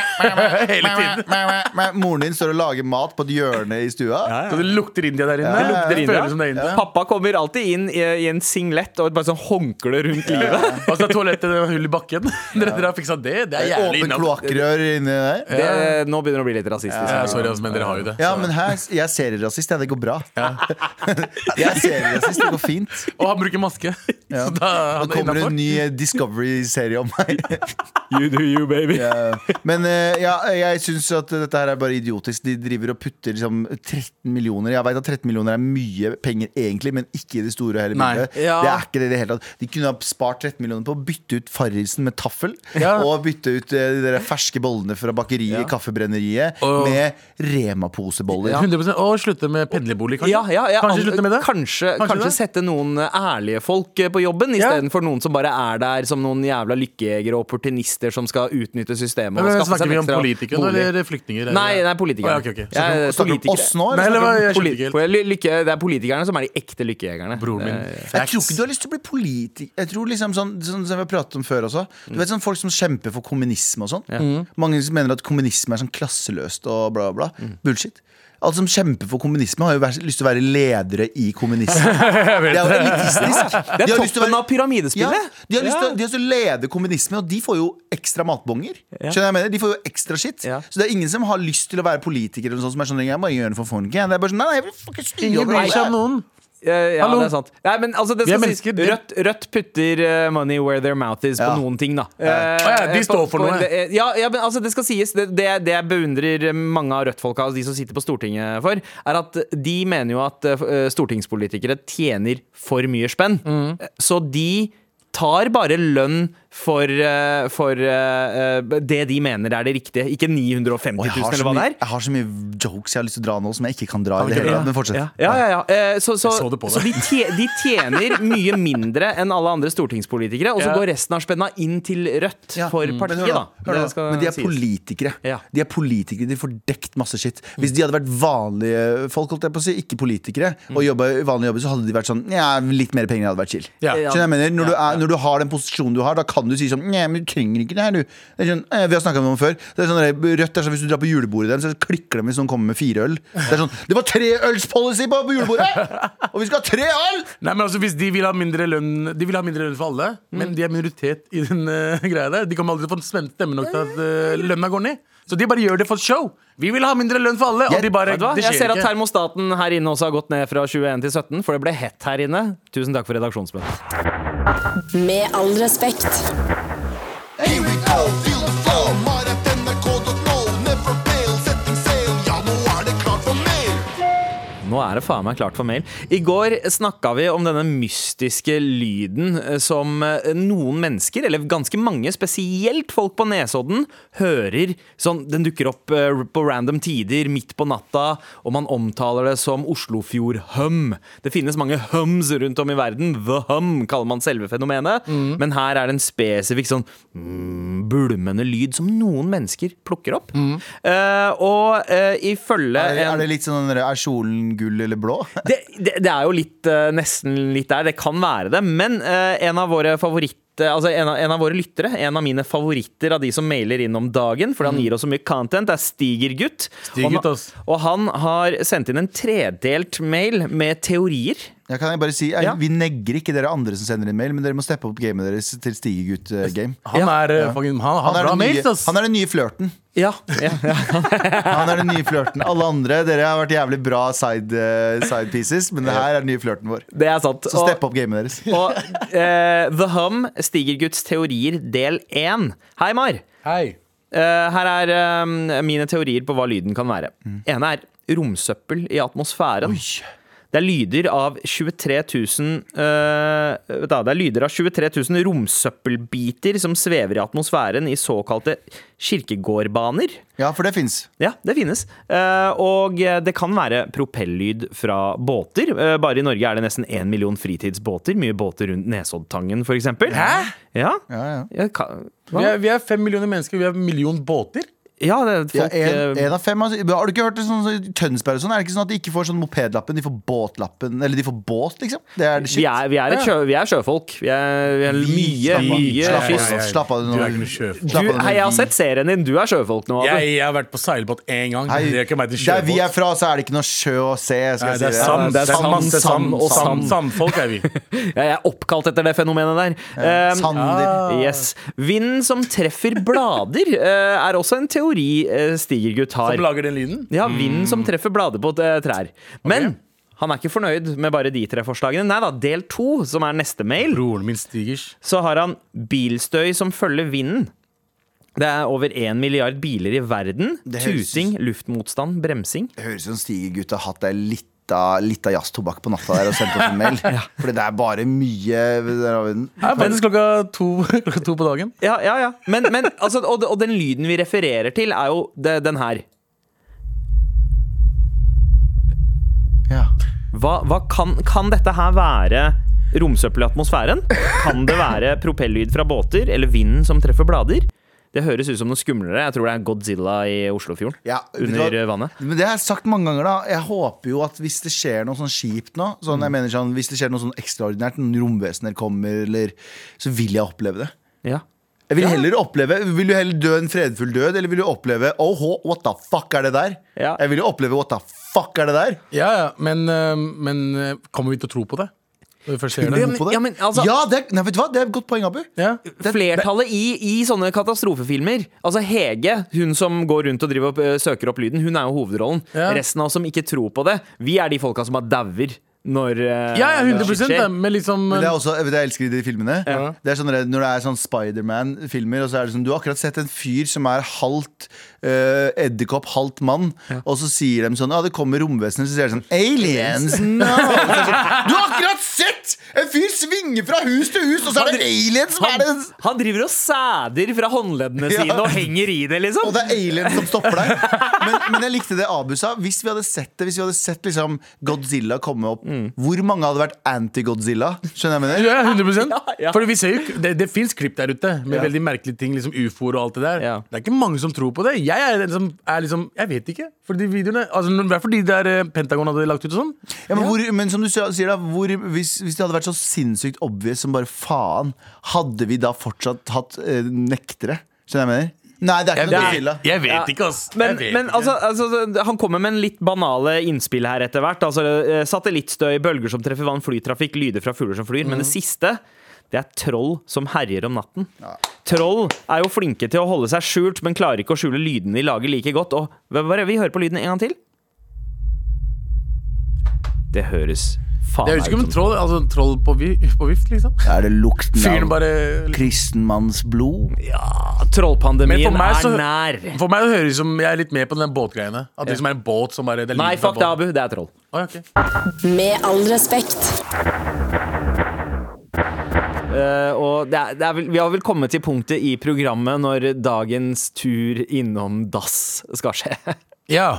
Hele tiden.
Moren din står og lager mat på et hjørne i stua.
Så det lukter India der inne.
Det lukter
Det
India.
Føles som det er India.
Pappa kommer alltid inn i, i en singlet og et bare sånn håndkle rundt livet.
Og så er toalettet det er hull i bakken. Dere, dere har fiksa det. Det er jævlig
Åpent
innad.
kloakkrør inni der.
Det, eh, nå begynner det å bli litt rasistisk.
Ja, sorry, ass, men dere har jo det.
Ja, men her, jeg ser rasist, ja, det går bra. Jeg ser rasist, det går fint.
Og han bruker maske. Så da
Nå
han er
kommer det
innafor.
en ny eh, Discovery-serie om meg.
You do you, baby.
Eh, Men eh, ja, jeg syns at dette her er bare idiotisk. De driver og putter liksom 13 millioner. Jeg veit at 13 millioner er mye penger egentlig, men ikke i det store og hele
Nei.
bildet.
Ja.
Det er ikke det i det hele tatt. De kunne ha spart 13 millioner på å bytte ut Farrisen med taffel.
Ja.
Og bytte ut eh, de der ferske bollene fra bakeriet, Kaffebrenneriet,
Og-
med Rema-poseboller.
100% Og slutte med pendlerbolig, kanskje?
Ja, ja, ja.
Kanskje slutte med det?
Kanskje,
Kanskje
kanskje,
det?
sette noen eh, ærlige folk eh, på jobben
Ja.
istedenfor noen som bare er der som noen jævla lykkejegere og opportunister som skal utnytte systemet.
Men
Og skaffe
Snakker
seg
vi
en
om
ekstra
politikere nå,
bolig.
eller flyktninger?
Nei, nei, politikere.
Å, ja, ok, ok.
Jeg eh, er
Snakker du om oss
politiker.
nå?
Nei,
Eller?
eller hva? Jeg skjønte
Poli-
ikke helt.
for ly- lykke, det er politikerne som er de ekte lykkejegerne.
Broren min.
Jeg tror ikke du har lyst til å bli politiker. Jeg tror liksom sånn, sånn som vi har pratet om før også Du vet sånn Folk som kjemper for kommunisme og sånn.
Mm.
Mange som mener at kommunisme er sånn klasseløst og bla, bla. bla.
Mm.
Bullshit. Alle som kjemper for kommunisme, har jo vært, lyst til å være ledere i kommunisme. Det er jo elitistisk.
Det er
De har lyst til å
toppen
være-
av pyramidespillet!
ja, de har lyst
Ja.
til, å- de har lyst til å lede kommunismen, og de får jo ekstra matbonger. Skjønner du hva jeg mener? De får jo ekstra shit.
Ja.
Så det er ingen som har lyst til å være politiker eller noe sånt som er sånn Jeg bare gjør det for fun. Det er bare sånn, nei, nei, jeg vil fucking styre
Ingen
over
bryr seg om
alle.
noen.
Eh, Ja,
Hallo?
det er sant. Nei, men altså, det
Vi er
skal sies,
mennesker, det-
Rødt, Rødt putter eh, money where their mouth is
Ja.
på noen ting, da.
Ja.
Eh,
Å ja, de
eh,
står for noe.
en del- eh, ja, ja, men altså, det skal sies. Det, det, det jeg beundrer mange av Rødt-folka, altså de som sitter på Stortinget, for, er at de mener jo at eh,
Mm.
stortingspolitikere tjener for mye spenn. Eh, Så de tar bare lønn for, eh, for eh, eh, det de mener er det riktige. Ikke 950
Og jeg
000,
har, så
eller hva det
mye,
er. Ah,
jeg har så mye jokes jeg har lyst til å dra nå, som jeg ikke kan dra. i det hele tatt, Men fortsett.
Ja, ja, ja, ja. Eh, Så, så,
Jeg så det på
så de,
deg.
tje- de tjener mye mindre enn alle andre stortingspolitikere, og så
Ja.
går resten av spenna inn til Rødt
Ja,
for
mm.
partiet,
men hør
da.
Hør
Det
nå,
skal
men de er
sies.
politikere.
Ja. Mm.
De er politikere, de får dekt masse shit. Hvis de hadde vært vanlige folk, holdt jeg på å si, ikke politikere,
Mm.
og jobba i vanlige jobber, så hadde de vært sånn ja, litt mer penger hadde vært chill.
Ja.
Skjønner du hva jeg mener? Når, du er, når du har den posisjonen du har, da kan du si sånn Nei, men du trenger ikke det her, du. Det er sånn, «Eh, vi har snakka om det før. Det er sånn, der, Rødt er sånn hvis du drar på julebordet deres, så klikker de hvis noen kommer med fire øl. Det er sånn Det var treølspolicy på, på julebordet! Og vi skal ha tre øl!
Nei, men altså, hvis de vil ha mindre lønn De vil ha mindre lønn for alle, men
Mm.
de er minoritet i den eh, greia der. De kommer aldri til å få spent stemme nok til at eh,
Mm.
lønna går ned. Så de bare gjør det for show. Vi vil ha mindre lønn for alle, og
Jeg-
de bare
Vet du hva?
Det
Jeg ser
skjer
at
ikke.
termostaten her inne også har gått ned fra 21 til 17, for det ble hett her inne. Tusen takk for redaksjonsmøtet.
Med all respekt.
Here we go, feel the flow. Maratnrk.no, never fail, setting sail. Ja, nå er det klart for mer.
Nå er det faen meg klart for mail. I går snakka vi om denne mystiske lyden eh, som eh, noen mennesker, eller ganske mange, spesielt folk på Nesodden, hører sånn Den dukker opp eh, på random tider midt på natta, og man omtaler det som Oslofjord-hum. Det finnes mange hums rundt om i verden. The hum kaller man selve fenomenet.
Mm.
Men her er det en spesifikk sånn mm, bulmende lyd som noen mennesker plukker opp. Eh, og eh, ifølge
Mm. Er,
en-
er det litt sånn der, Er kjolen gull eller blå?
det, det, det er jo litt, eh, nesten litt der. Det kan være det. Men eh, en av våre favoritter Altså en, av, en av våre lyttere, en av mine favoritter av de som mailer inn om dagen, fordi han gir oss så mye content, er Stigergutt.
Stigergutt,
og,
ass.
han- og han har sendt inn en tredelt mail med teorier.
Ja, kan jeg bare si, jeg,
Ja.
Vi negger ikke dere andre som sender inn mail, men dere må steppe opp gamet deres til Stigegutt-game.
Han er eh, fucking Han, han, bra
den nye-
mails, ass.
han er den nye flørten.
Ja, ja, ja.
Han er den nye flørten. Alle andre dere har vært jævlig bra side, eh, side pieces, men det her er den nye flørten vår.
det er sant.
Så stepp opp gamet deres.
Og eh, The Hum, Stigergutts teorier del én. Hei, Mar.
Hei.
Eh, her er eh, mine teorier på hva lyden kan være.
Mm.
Ene er romsøppel i atmosfæren. Det er lyder av 23 000 eh, vet du hva, Det er lyder av 23 000 romsøppelbiter som svever i atmosfæren i såkalte kirkegårdbaner.
Ja, for det fins.
Ja, det finnes. Eh, og det kan være propellyd fra båter. Eh, bare i Norge er det nesten én million fritidsbåter. Mye båter rundt Nesoddtangen, for eksempel. Hæ? Ja.
Ja, ja.
Ja, ka-
Vi
hva?
er, vi er fem millioner mennesker, vi har en million båter.
ja det er
Ja,
folk
en,
eh,
en av fem, altså, har du ikke hørt det sånn, sånn, Tønsberg og sånn? Er det ikke sånn at de ikke får sånn mopedlappen, de får båtlappen? Eller de får båt, liksom? Det er det
Vi
shit.
er, vi er, et sjø, vi er sjøfolk. Vi er, vi er mye,
slapp av.
mye
Slapp av.
fisk.
Slapp av. Slapp av
Du
nå.
er ikke noe sjøfolk.
Slapp
Du,
av nå.
hei, jeg har sett serien din. Du er sjøfolk nå.
Jeg,
Abu.
jeg har vært på seilbåt én gang.
Hei,
det er ikke meg til
Der vi er
sjøfolk.
fra, så er det ikke noe sjø å se. Skal
Nei, det
jeg si
er
det.
sand, det er
Sand,
sand, det er sand,
sand,
og sand.
sand.
Samfolk er vi.
Jeg er oppkalt etter det fenomenet der. Um,
Sander.
yes. Vinden som treffer blader, eh, er også en teori eh, Stigergutt
Som
har.
lager den lyden.
Ja, vinden som
Mm.
treffer blader på eh, trær. Men han er ikke fornøyd med bare de tre forslagene. Nei da, del to, som er neste mail.
Broren min Stigers.
så har han bilstøy som følger vinden. Det er over én milliard biler i verden.
Det høres-
Tuting, luftmotstand, bremsing.
Det høres ut som Stigergutt har hatt deg litt av, litt av jazztobakk på natta der og sendt oss en mail. Fordi det er bare mye der har vi den.
Det er faktisk klokka to, klokka to på dagen.
Ja, ja, ja. Men, men, altså, og, og den lyden vi refererer til, er jo det, den her.
Ja.
Hva, hva kan, kan dette her være romsøppel i atmosfæren? Kan det være propellyd fra båter eller vinden som treffer blader? Det høres ut som noe skumlere. Jeg tror det er Godzilla i Oslofjorden.
Ja, vet du
under
hva?
vannet.
Men det har jeg sagt mange ganger, da. Jeg håper jo at hvis det skjer noe sånn kjipt nå,
Mm.
sånn, jeg mener sånn, hvis det skjer noe sånn ekstraordinært, noen romvesener kommer, eller Så vil jeg oppleve det.
Ja.
Jeg vil heller oppleve Vil du heller dø en fredfull død, eller vil du oppleve Oh, what the fuck er det der?
Ja.
Jeg vil jo oppleve what the fuck er det der?
Ja, ja, men, eh, men eh, kommer vi til å tro på det? Når vi først ser det?
Ja, men-
På det.
ja, men altså-
ja det, er- nei, vet du hva? det er et godt poeng, Abu.
Ja.
Flertallet i, i sånne katastrofefilmer Altså Hege, hun som går rundt og driver opp, øh, søker opp lyden, hun er jo hovedrollen.
Ja.
Resten av oss som ikke tror på det, vi er de folka som har dauer når øh,
Ja, ja,
shit
100
skjer.
det, men liksom
Men det er også, vet du, jeg elsker i de filmene Det er sånn der- Når det er sånn Spiderman-filmer Og så er det sånn, du har akkurat sett en fyr som er halvt uh, Edderkopp, halvt mann Og så sier de sånn, ja det kommer romvesener Så sier de sånn, aliens, no Så er det sånn, Du har akkurat sett En fyr svinger fra hus til hus, og så er det aliens som er
Han,
det
han driver og sæder fra håndleddene
Ja.
sine og henger i det,
Og
liksom.
det er aliens som stopper deg. Men, men jeg likte det Abu sa. Hvis vi hadde sett det Hvis vi hadde sett liksom Godzilla komme opp,
Mm.
hvor mange hadde vært anti-Godzilla? Skjønner jeg hva jeg mener?
Ja, 100
Ja, ja.
Fordi vi ser jo, ikke- Det, det fins klipp der ute med
Ja.
veldig merkelige ting, liksom ufoer og alt det der.
Ja.
Det er ikke mange som tror på det. Jeg er liksom, er liksom Jeg vet ikke. For de videoene altså, når- I hvert fall de der eh, Pentagon hadde lagt ut og sånn.
Ja, men, hvor, men som du sier, sier da hvor, hvis, hvis det hadde vært så sinnssykt obvious som bare faen, hadde vi da fortsatt hatt eh, nektere? Skjønner jeg hva jeg mener? Nei, det er ikke
Det
noe
er-
Godzilla.
Jeg vet
Ja.
ikke, ass. Jeg
Men,
vet
men
ikke.
altså, altså, han kommer med en litt banale innspill her etter hvert. Altså, eh, satellittstøy, bølger som treffer vann, flytrafikk, lyder fra fugler som flyr. Men det
Mhm.
siste, det er troll som herjer om natten. Troll er jo flinke til å holde seg skjult, men klarer ikke å skjule lydene de lager like godt. Og hva var det vi hører på lyden en gang til? Det høres faen
Det høres ikke
meg
ut som troll, altså, troll på, vi, på vift, liksom.
Er det
Fyren
lukten av
bare
kristenmanns blod?
Men for
Trollpandemien
meg
er
så-
nær.
For meg det høres ut som jeg er litt med på den båtgreiene. At det liksom er en båt som bare det er
Nei,
lyden av
fuck det,
båten.
Abu. Det er troll.
Å, ja, ok.
Med all respekt.
Eh, og det er, det er vel, vi har vel kommet til punktet i programmet når dagens tur innom dass skal skje.
Ja.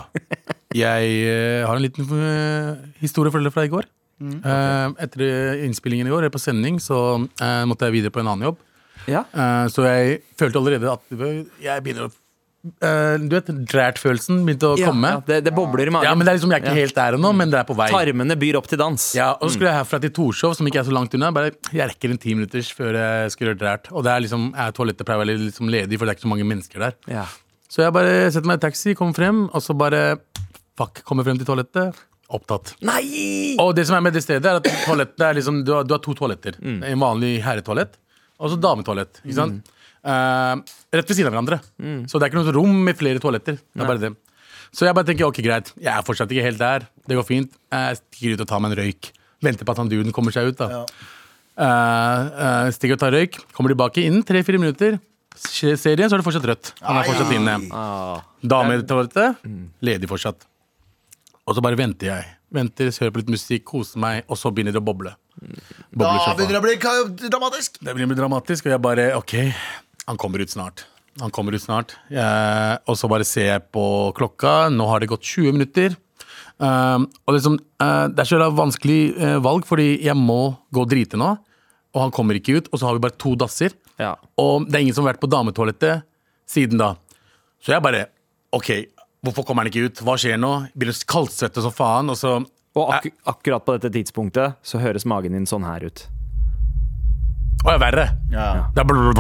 Jeg eh, har en liten eh, historie for dere fra i går.
Mm.
Eh, etter eh, innspillingen i går, eller på sending, så eh, måtte jeg videre på en annen jobb.
Ja.
Eh, så jeg følte allerede at jeg begynner å eh, Du vet, drært-følelsen begynte å komme.
Ja, det, det bobler i magen.
Ja, men det er liksom, Jeg er ikke helt der ennå, men det er på vei.
Tarmene byr opp til dans.
Ja, og så skulle jeg
Mm.
herfra til Torshov, som ikke er så langt unna. Bare, Jeg rekker en ti minutters før jeg skal gjøre drært. Og det er liksom, er toalettet pleier å være liksom ledig, for det er ikke så mange mennesker der.
Ja.
Så jeg bare setter meg i taxi, kommer frem, og så bare Fuck, kommer frem til toalettet. Opptatt.
Nei!
Og det som er med det stedet, er at toalettet er liksom Du har, du har to toaletter. En vanlig herretoalett og så dametoalett. Ikke sant? Eh, rett ved siden av hverandre. Så det er ikke noe rom med flere toaletter. Det er bare det. Så jeg bare tenker ok, greit, jeg er fortsatt ikke helt der. Det går fint. Jeg stikker ut og tar meg en røyk. Venter på at han duden kommer seg ut. da Eh, eh, Stikker og tar røyk. Kommer tilbake innen tre-fire minutter. Se- Ser igjen, så er det fortsatt rødt. Han er fortsatt inne. Dametoalettet, ledig fortsatt. Og så bare venter jeg. Venter, hører på litt musikk, koser meg, og så begynner det å boble.
Da
Bobler sofaen.
begynner det å bli ka- dramatisk.
Det blir dramatisk, og jeg bare OK, han kommer ut snart. Han kommer ut snart. Eh, og så bare ser jeg på klokka. Nå har det gått 20 minutter. Eh, og liksom, eh, det er så jævla vanskelig eh, valg, fordi jeg må gå og drite nå. Og han kommer ikke ut, og så har vi bare to dasser.
Ja.
Og det er ingen som har vært på dametoalettet siden da. Så jeg bare OK, hvorfor kommer han ikke ut? Hva skjer nå? Begynner å kaldsvette som faen. Og så
Og ak akkurat på dette tidspunktet så høres magen din sånn her ut.
Å, ja, verre. Det er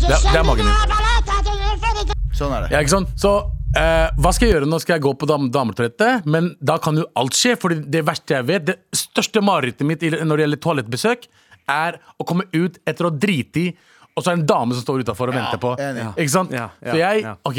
Det,
det er magen
min.
Sånn er det.
Ja, ikke sant? Så eh, hva skal jeg gjøre nå? Skal jeg gå på dam dametoalettet? Men da kan jo alt skje, for det verste jeg vet, det største marerittet mitt i- når det gjelder toalettbesøk, er å komme ut etter å drite i, og så er det en dame som står utafor og venter på.
enig.
Ikke sant?
Ja, ja,
så jeg,
ja.
ok,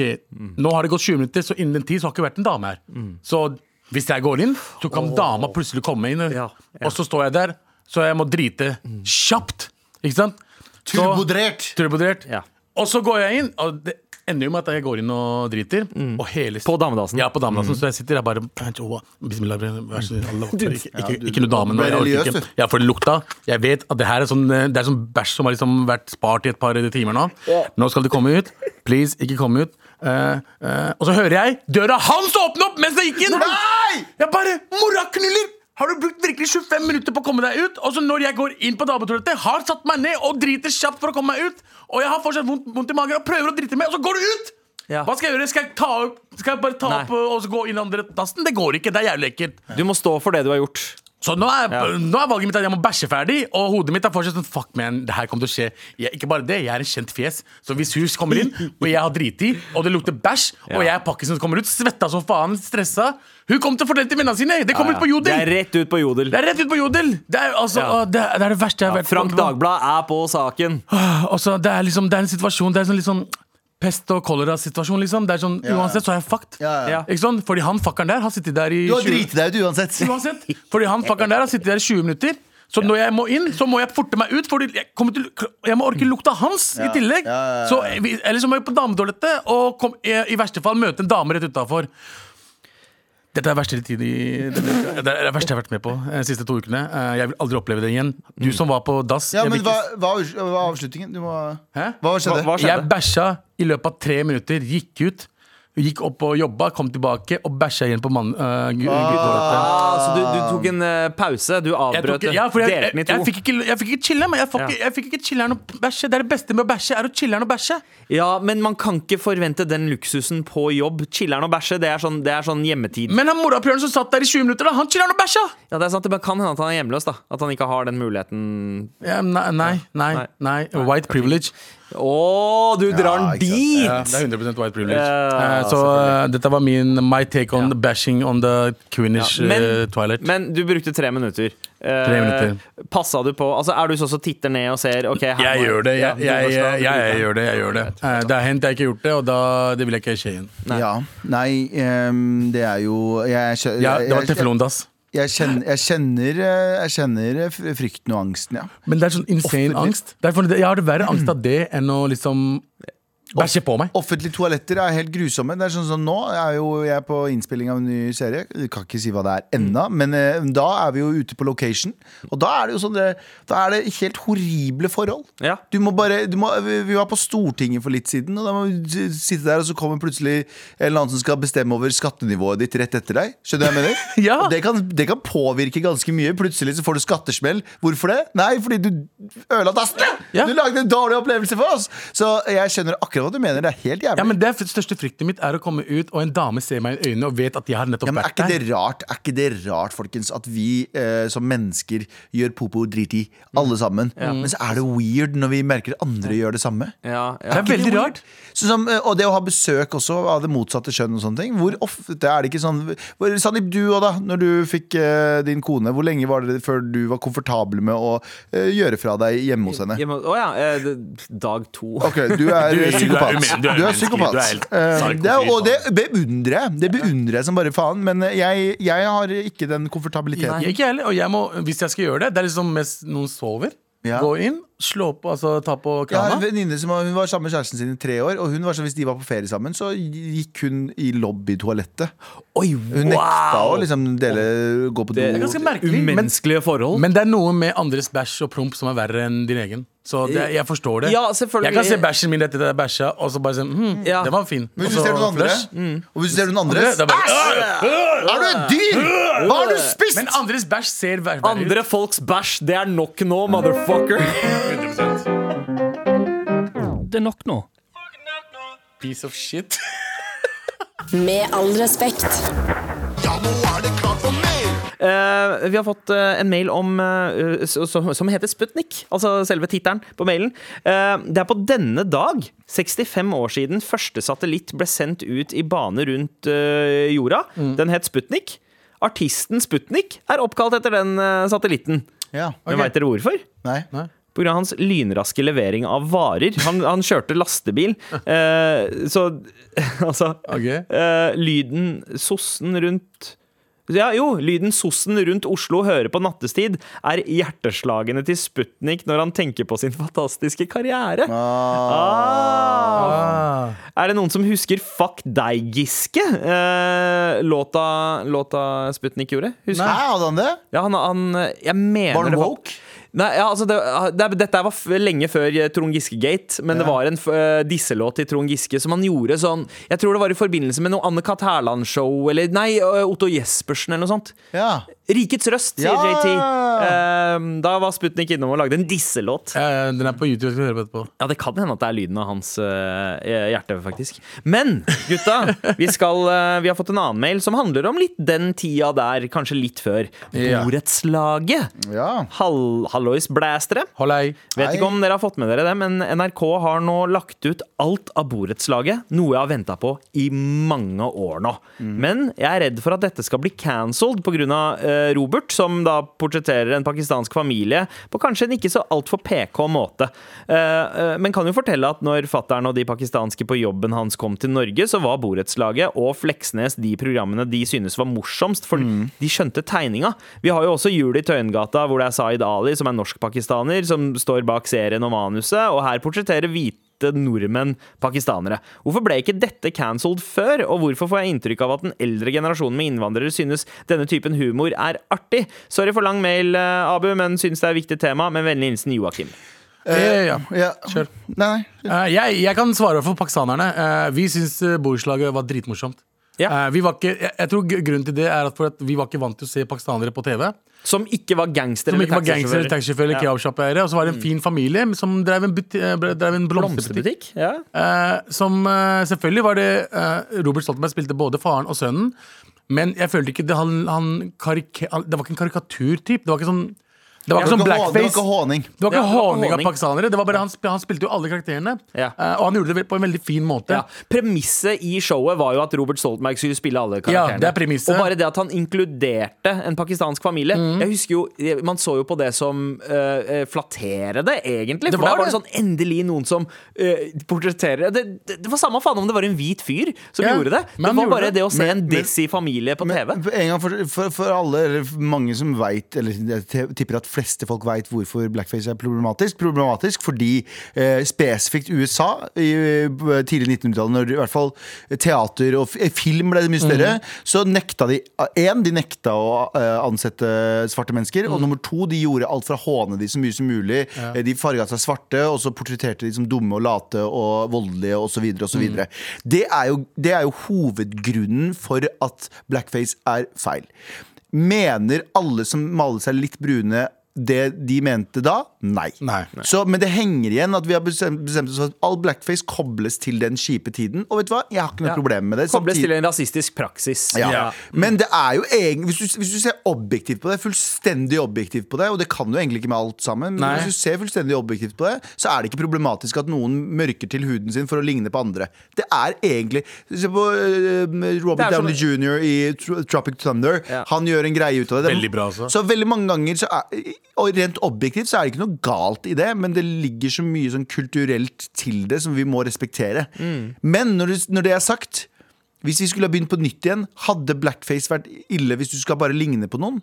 nå har det gått 20 minutter, så innen den tid så har det ikke vært en dame her.
Mm.
Så hvis jeg går inn, så kan dama plutselig komme inn,
Ja, ja.
og så står jeg der, så jeg må drite kjapt. Ikke sant? Så-
Turbodrert.
Turbodrert.
Ja.
Og så går jeg inn, og det ender jo med at jeg går inn og driter. Og hele
Mm. På Mm. damedassen.
Ja, på damedassen. Så jeg sitter der bare «Åh, Bismillah, vær så snill, Allah, ikke, ikke, ikke noe dame nå.
ble
Jeg orker
religiøs,
ikke. Ja, for det lukta. Jeg vet at det her er sånn eh, Det er sånn bæsj som har liksom vært spart i et par timer nå. Nå skal det komme ut. Please, ikke komme ut. Eh, eh, og så hører jeg døra hans åpne opp mens jeg gikk inn!
Nei!
Jeg bare Moraknuller! Har du brukt virkelig 25 minutter på å komme deg ut? Og så når jeg går inn på dametoalettet, har satt meg ned og driter kjapt for å komme meg ut, og jeg har fortsatt vondt, vondt i magen og prøver å drite meg, og så går du ut!
Ja.
Hva skal jeg gjøre? Skal jeg, ta, opp- skal jeg bare ta
Nei.
opp og så gå inn i andre dassen? Det går ikke. Det er jævlig ekkelt.
Du må stå for det du har gjort.
Så nå er,
Ja.
nå er valget mitt at jeg må bæsje ferdig, og hodet mitt er fortsatt sånn Fuck, man, det her kommer til å skje. Jeg, ikke bare det, jeg er en kjent fjes, så hvis hus kommer inn, og jeg har driti, og det lukter bæsj,
Ja.
og jeg er pakkisen som kommer ut, svetta som faen, stressa Hun kommer til å fortelle til vennene sine! Det kommer
Ja, ja.
ut på Jodel!
Det er rett ut på jodel.
Det er rett ut på jodel! Det er, altså,
Ja.
å, det er, det, er det verste jeg har
Ja,
vært
Frank
på.
Dagblad er på saken.
Altså, det, er liksom, det er en situasjon Det er sånn litt sånn pest og kolera-situasjon, liksom. Det er sånn, Uansett så er jeg fucked.
Ja, ja.
Ja.
Ikke sånn? Fordi han fuckeren der har sittet der i
Du har
20
driti deg ut uansett.
Uansett! Fordi han fuckeren der har sittet der i 20 minutter. Så når jeg må inn, så må jeg forte meg ut, Fordi jeg, kommer til, jeg må orke lukta hans i tillegg.
ja, ja, ja.
Så, vi- eller så må jeg på dametoalettet og kom, i, i verste fall møte en dame rett utafor. Dette er verste tid i, det er det er det verste jeg har vært med på eh, de siste to ukene. Eh, Jeg vil aldri oppleve det igjen. Du som var på dass.
Mm. Ja,
jeg
men
vil
hva,
ikke-
hva var hva var avslutningen? Du må
Hæ?
Hva skjedde?
Hva- hva skjedde?
Jeg bæsja i løpet av tre minutter, gikk ut, gikk opp og jobba, kom tilbake og bæsja igjen på mann... Uh, gu, gutteholdet.
Ah, så du, du tok en eh, pause? Du
Jeg, tok,
avbrøt det?
ja, for jeg, jeg,
delte den i
jeg,
to?
fikk ikke, jeg fikk ikke chille, men jeg, får ikke- jeg fikk ikke chiller'n å bæsje. Det er det beste med å bæsje, er å chiller'n å bæsje.
Ja, men man kan ikke forvente den luksusen på jobb. Chiller'n og bæsje, det er sånn, det er sånn hjemmetid.
Men han morapuleren som satt der i 20 minutter, da, han chiller'n å bæsja!
Ja, det er sant, det kan hende at han er hjemløs, da. At han ikke har den muligheten.
Ja, nei, nei, nei,
Nei.
nei. White privilege.
Å, du drar
Ja,
den
ikke sant.
dit!
Ja, det er 100 white privilege.
Ja,
Eh, så eh, dette var min my take on the bashing on the queenish
Ja, men-
eh, toilet.
Men du brukte tre minutter. Eh,
Tre minutter.
Passa du på? Altså, er du sånn som titter ned og ser ok, her
jeg
må-
gjør det,
Ja,
jeg,
du
jeg,
forstår,
jeg,
du
jeg,
bruker den.
gjør det. jeg gjør Det Eh, Det har hendt jeg ikke har gjort det, og da, det vil jeg ikke skje igjen.
Nei. Ja. Nei, ehm, det er jo Jeg, jeg,
Ja,
jeg,
det var
jeg,
teflondass.
jeg, kjenner, jeg, kjenner, eh, jeg kjenner eh, fr- frykten og angsten, ja.
Men det er sånn insane angst. Det er for- jeg har det verre angst av det enn å liksom bæsje på meg.
Offentlige toaletter er helt grusomme. Det er sånn som Nå er jo jeg på innspilling av en ny serie. Jeg kan ikke si hva det er
Mm.
ennå, men eh, da er vi jo ute på location. Og da er det jo sånn det, Da er det helt horrible forhold.
Ja.
Du må bare du må, Vi vi var på Stortinget for litt siden, og da må vi s- sitte der, og så kommer plutselig en eller annen som skal bestemme over skattenivået ditt rett etter deg. Skjønner du hva jeg mener?
Ja.
Og det, kan, det kan påvirke ganske mye. Plutselig så får du skattesmell. Hvorfor det? Nei, fordi du ødela dassene!
Ja.
Du lagde en dårlig opplevelse for oss! Så jeg skjønner akkurat hva du mener. Det er helt jævlig.
Ja, men det er største frykten mitt er å komme ut, og en dame ser meg i øynene og vet at jeg har nettopp
Ja, men er
vært
ikke det
der.
rart, er ikke det rart, folkens, at vi eh, som mennesker gjør popo drit i, alle sammen? Men så er det weird når vi merker andre gjør det samme.
Ja,
Det
ja.
er veldig rart.
Sånn som, eh, og det å ha besøk også av det motsatte kjønn og sånne ting. Hvor ofte er det ikke sånn hvor, Sandeep, du òg, da. Når du fikk eh, din kone, hvor lenge var det før du var komfortabel med å eh, gjøre fra deg hjemme hos henne?
Jeg må- Å ja. eh, det- Dag to.
Ok, du er
Du er- du er
psykopat.
umen- du er
Du er
umenneskelig,
psykopat.
du er helt
Eh, det er, og
psykofil,
det beundrer jeg. Det beundrer jeg som bare faen. Men eh, jeg, jeg har ikke den komfortabiliteten.
Jeg, ikke jeg heller, og jeg må, hvis jeg skal gjøre det, det er liksom mens noen sover.
Ja.
Gå inn, slå på, altså ta på
Jeg har en
krana.
venninne som var- hun var sammen med kjæresten sin i tre år. Og hun var sånn, hvis de var på ferie sammen, så gikk hun i lobbytoalettet.
Oi,
Hun nekta å liksom dele, gå på do.
Det er
ganske merkelig, men-
Umenneskelige forhold.
Men det er noe med andres bæsj og promp som er verre enn din egen. Så det,
Eh,
jeg forstår det.
Ja, selvfølgelig.
Jeg kan se bæsjen min etter at jeg bæsja, og så bare sånn hm,
Ja.
Det var fin.
Men
Og
hvis du
så
ser noen andre,
flush.
og hvis du ser noen andre
Det er bare,
Er du et dyr?! Hva har du spist?!
Men andres bæsj ser ver- verre ut.
andre folks bæsj, det er nok nå, motherfucker.
Det er nok nå.
Piece of shit.
Med all respekt.
Ja, nå er det klart for mer.
Eh, vi har fått eh, en mail om, eh, s- som, som heter Sputnik, altså selve tittelen på mailen. Eh, det er på denne dag, 65 år siden, første satellitt ble sendt ut i bane rundt eh, jorda. Den het Sputnik. Artisten Sputnik er oppkalt etter den eh, satellitten.
Ja,
Men Veit dere hvorfor?
nei.
Pga. hans lynraske levering av varer. Han, han kjørte lastebil. Eh, så altså
Ok.
eh, Lyden sossen rundt ja, jo, lyden sossen rundt Oslo hører på nattestid, er hjerteslagene til Sputnik når han tenker på sin fantastiske karriere.
Ah.
Ah. Er det noen som husker Fuck deg, Giske? Eh, låta, låta Sputnik gjorde? Husker
Hæ, hadde han det?
ja, han, han Jeg mener
Var han
det var-
woke?
Nei, ja, altså det, det, Dette var f lenge før eh, Trond Giske-gate, men det var en f eh, disselåt til Trond Giske som han gjorde sånn Jeg tror det var i forbindelse med noe Anne-Cath. Hærland-show, eller nei, eh, Otto Jespersen eller noe sånt.
Ja.
Rikets røst, sier
Ja!
JT. Eh, da var Sputnik innom og lagde en disselåt.
Eh, den er på YouTube. Jeg skal høre på etterpå.
Ja, det kan hende at det er lyden av hans eh, hjerte, faktisk. Men gutta, vi, skal, eh, vi har fått en annen mail som handler om litt den tida der, kanskje litt før.
Ja.
Borettslaget.
ja.
Hall Hallois-blæstere.
Hallei.
Vet ikke om dere har fått med dere det, men NRK har nå lagt ut alt av borettslaget. Noe jeg har venta på i mange år nå. Men jeg er redd for at dette skal bli cancelled pga. Uh, Robert, som da portretterer en pakistansk familie på kanskje en ikke så altfor PK måte. Eh, eh, men kan jo fortelle at når fattern og de pakistanske på jobben hans kom til Norge, så var borettslaget og Fleksnes de programmene de synes var morsomst, for de skjønte tegninga. Vi har jo også Jul i Tøyengata, hvor det er Zaid Ali, som er norsk-pakistaner, som står bak serien og manuset, og her portretterer hvite hvite nordmenn pakistanere. Hvorfor ble ikke dette cancelled før, og hvorfor får jeg inntrykk av at den eldre generasjonen med innvandrere synes denne typen humor er artig? Sorry for lang mail, eh, Abu, men synes det er et viktig tema. Med vennlig hilsen Joakim.
Eh, ja.
Ja.
Kjør.
Nei, nei.
Eh, jeg, jeg kan svare for pakistanerne. Eh, vi syns eh, borettslaget var dritmorsomt.
Ja.
Eh, vi var ikke, jeg, jeg tror gr- Grunnen til det er at, for at vi var ikke vant til å se pakistanere på TV.
Som ikke var gangster
Som ikke var
taxisjåfører.
gangstere, taxisjåfører eller
Ja.
kebabsjappeeiere. Og så var det en fin familie som drev en, buti- eh, drev en blomsterbutikk.
Blomsterbutikk? Ja.
Eh, som eh, selvfølgelig var det eh, Robert Stoltenberg spilte både faren og sønnen. Men jeg følte ikke det, han, han, karike, han, det var ikke en karikaturtyp. Det var ikke sånn Det var
Det
ikke
var
sånn
ikke hå- det var
blackface.
ikke håning.
Det var ikke
Ja, det var
håning av
håning.
pakistanere. Det var bare, han, sp han spilte jo alle karakterene.
Ja.
Eh, og han gjorde det vel på en veldig fin måte.
Ja. Premisset i showet var jo at Robert Stoltenberg skulle spille alle karakterene.
Ja, det er premisset. Mm.
Og bare det at han inkluderte en pakistansk familie Jeg husker jo, Man så jo på det som eh, eh, flatterende, egentlig.
Det
for der
var
var det
det.
sånn endelig noen som eh, portretterer det, det, det var samme faen om det var en hvit fyr som
Ja,
gjorde det.
men
Det
han
var
gjorde
bare
det.
det å se en
men-
dizzy familie på TV.
Men en gang for, for, for alle, eller for mange som veit, eller jeg te- tipper at fleste folk veit hvorfor blackface er problematisk. Problematisk fordi eh, spesifikt USA, i eh, tidlig 1900-tallet, når i hvert fall teater og f- eh, film ble mye større,
Mhm.
så nekta de Én, de nekta å eh, ansette svarte mennesker.
Mm.
Og nummer to, de gjorde alt for å håne de så mye som mulig. Eh, De farga seg svarte, og så portretterte de som dumme og late og voldelige osv. osv.
Mm.
Det, er jo- det er jo hovedgrunnen for at blackface er feil. Mener alle som maler seg litt brune det de mente da? Nei.
Nei.
Så, men det henger igjen at vi har bestemt, bestemt oss for at all blackface kobles til den kjipe tiden. Og vet du hva? Jeg har ikke noe
Ja.
problem med det.
Kobles
Samtidig-
til en rasistisk praksis.
ja. Men det er jo egentlig hvis, du- hvis du ser objektivt på det, fullstendig objektivt på det, og det kan du egentlig ikke med alt sammen, men
Nei.
hvis du ser fullstendig objektivt på det, så er det ikke problematisk at noen mørker til huden sin for å ligne på andre. Det er egentlig Se på øh, Robert
Det er som-
Downey jr. i Tro- Tropic Thunder. Han gjør en greie ut av det. det. er-
Veldig bra, altså.
Så veldig mange ganger så er, Og rent objektivt så er det ikke noe galt i det, men det ligger så mye sånn kulturelt til det som vi må respektere.
Mm.
Men når, du, når det er sagt hvis vi skulle ha begynt på nytt igjen, hadde blackface vært ille hvis du skal bare ligne på noen?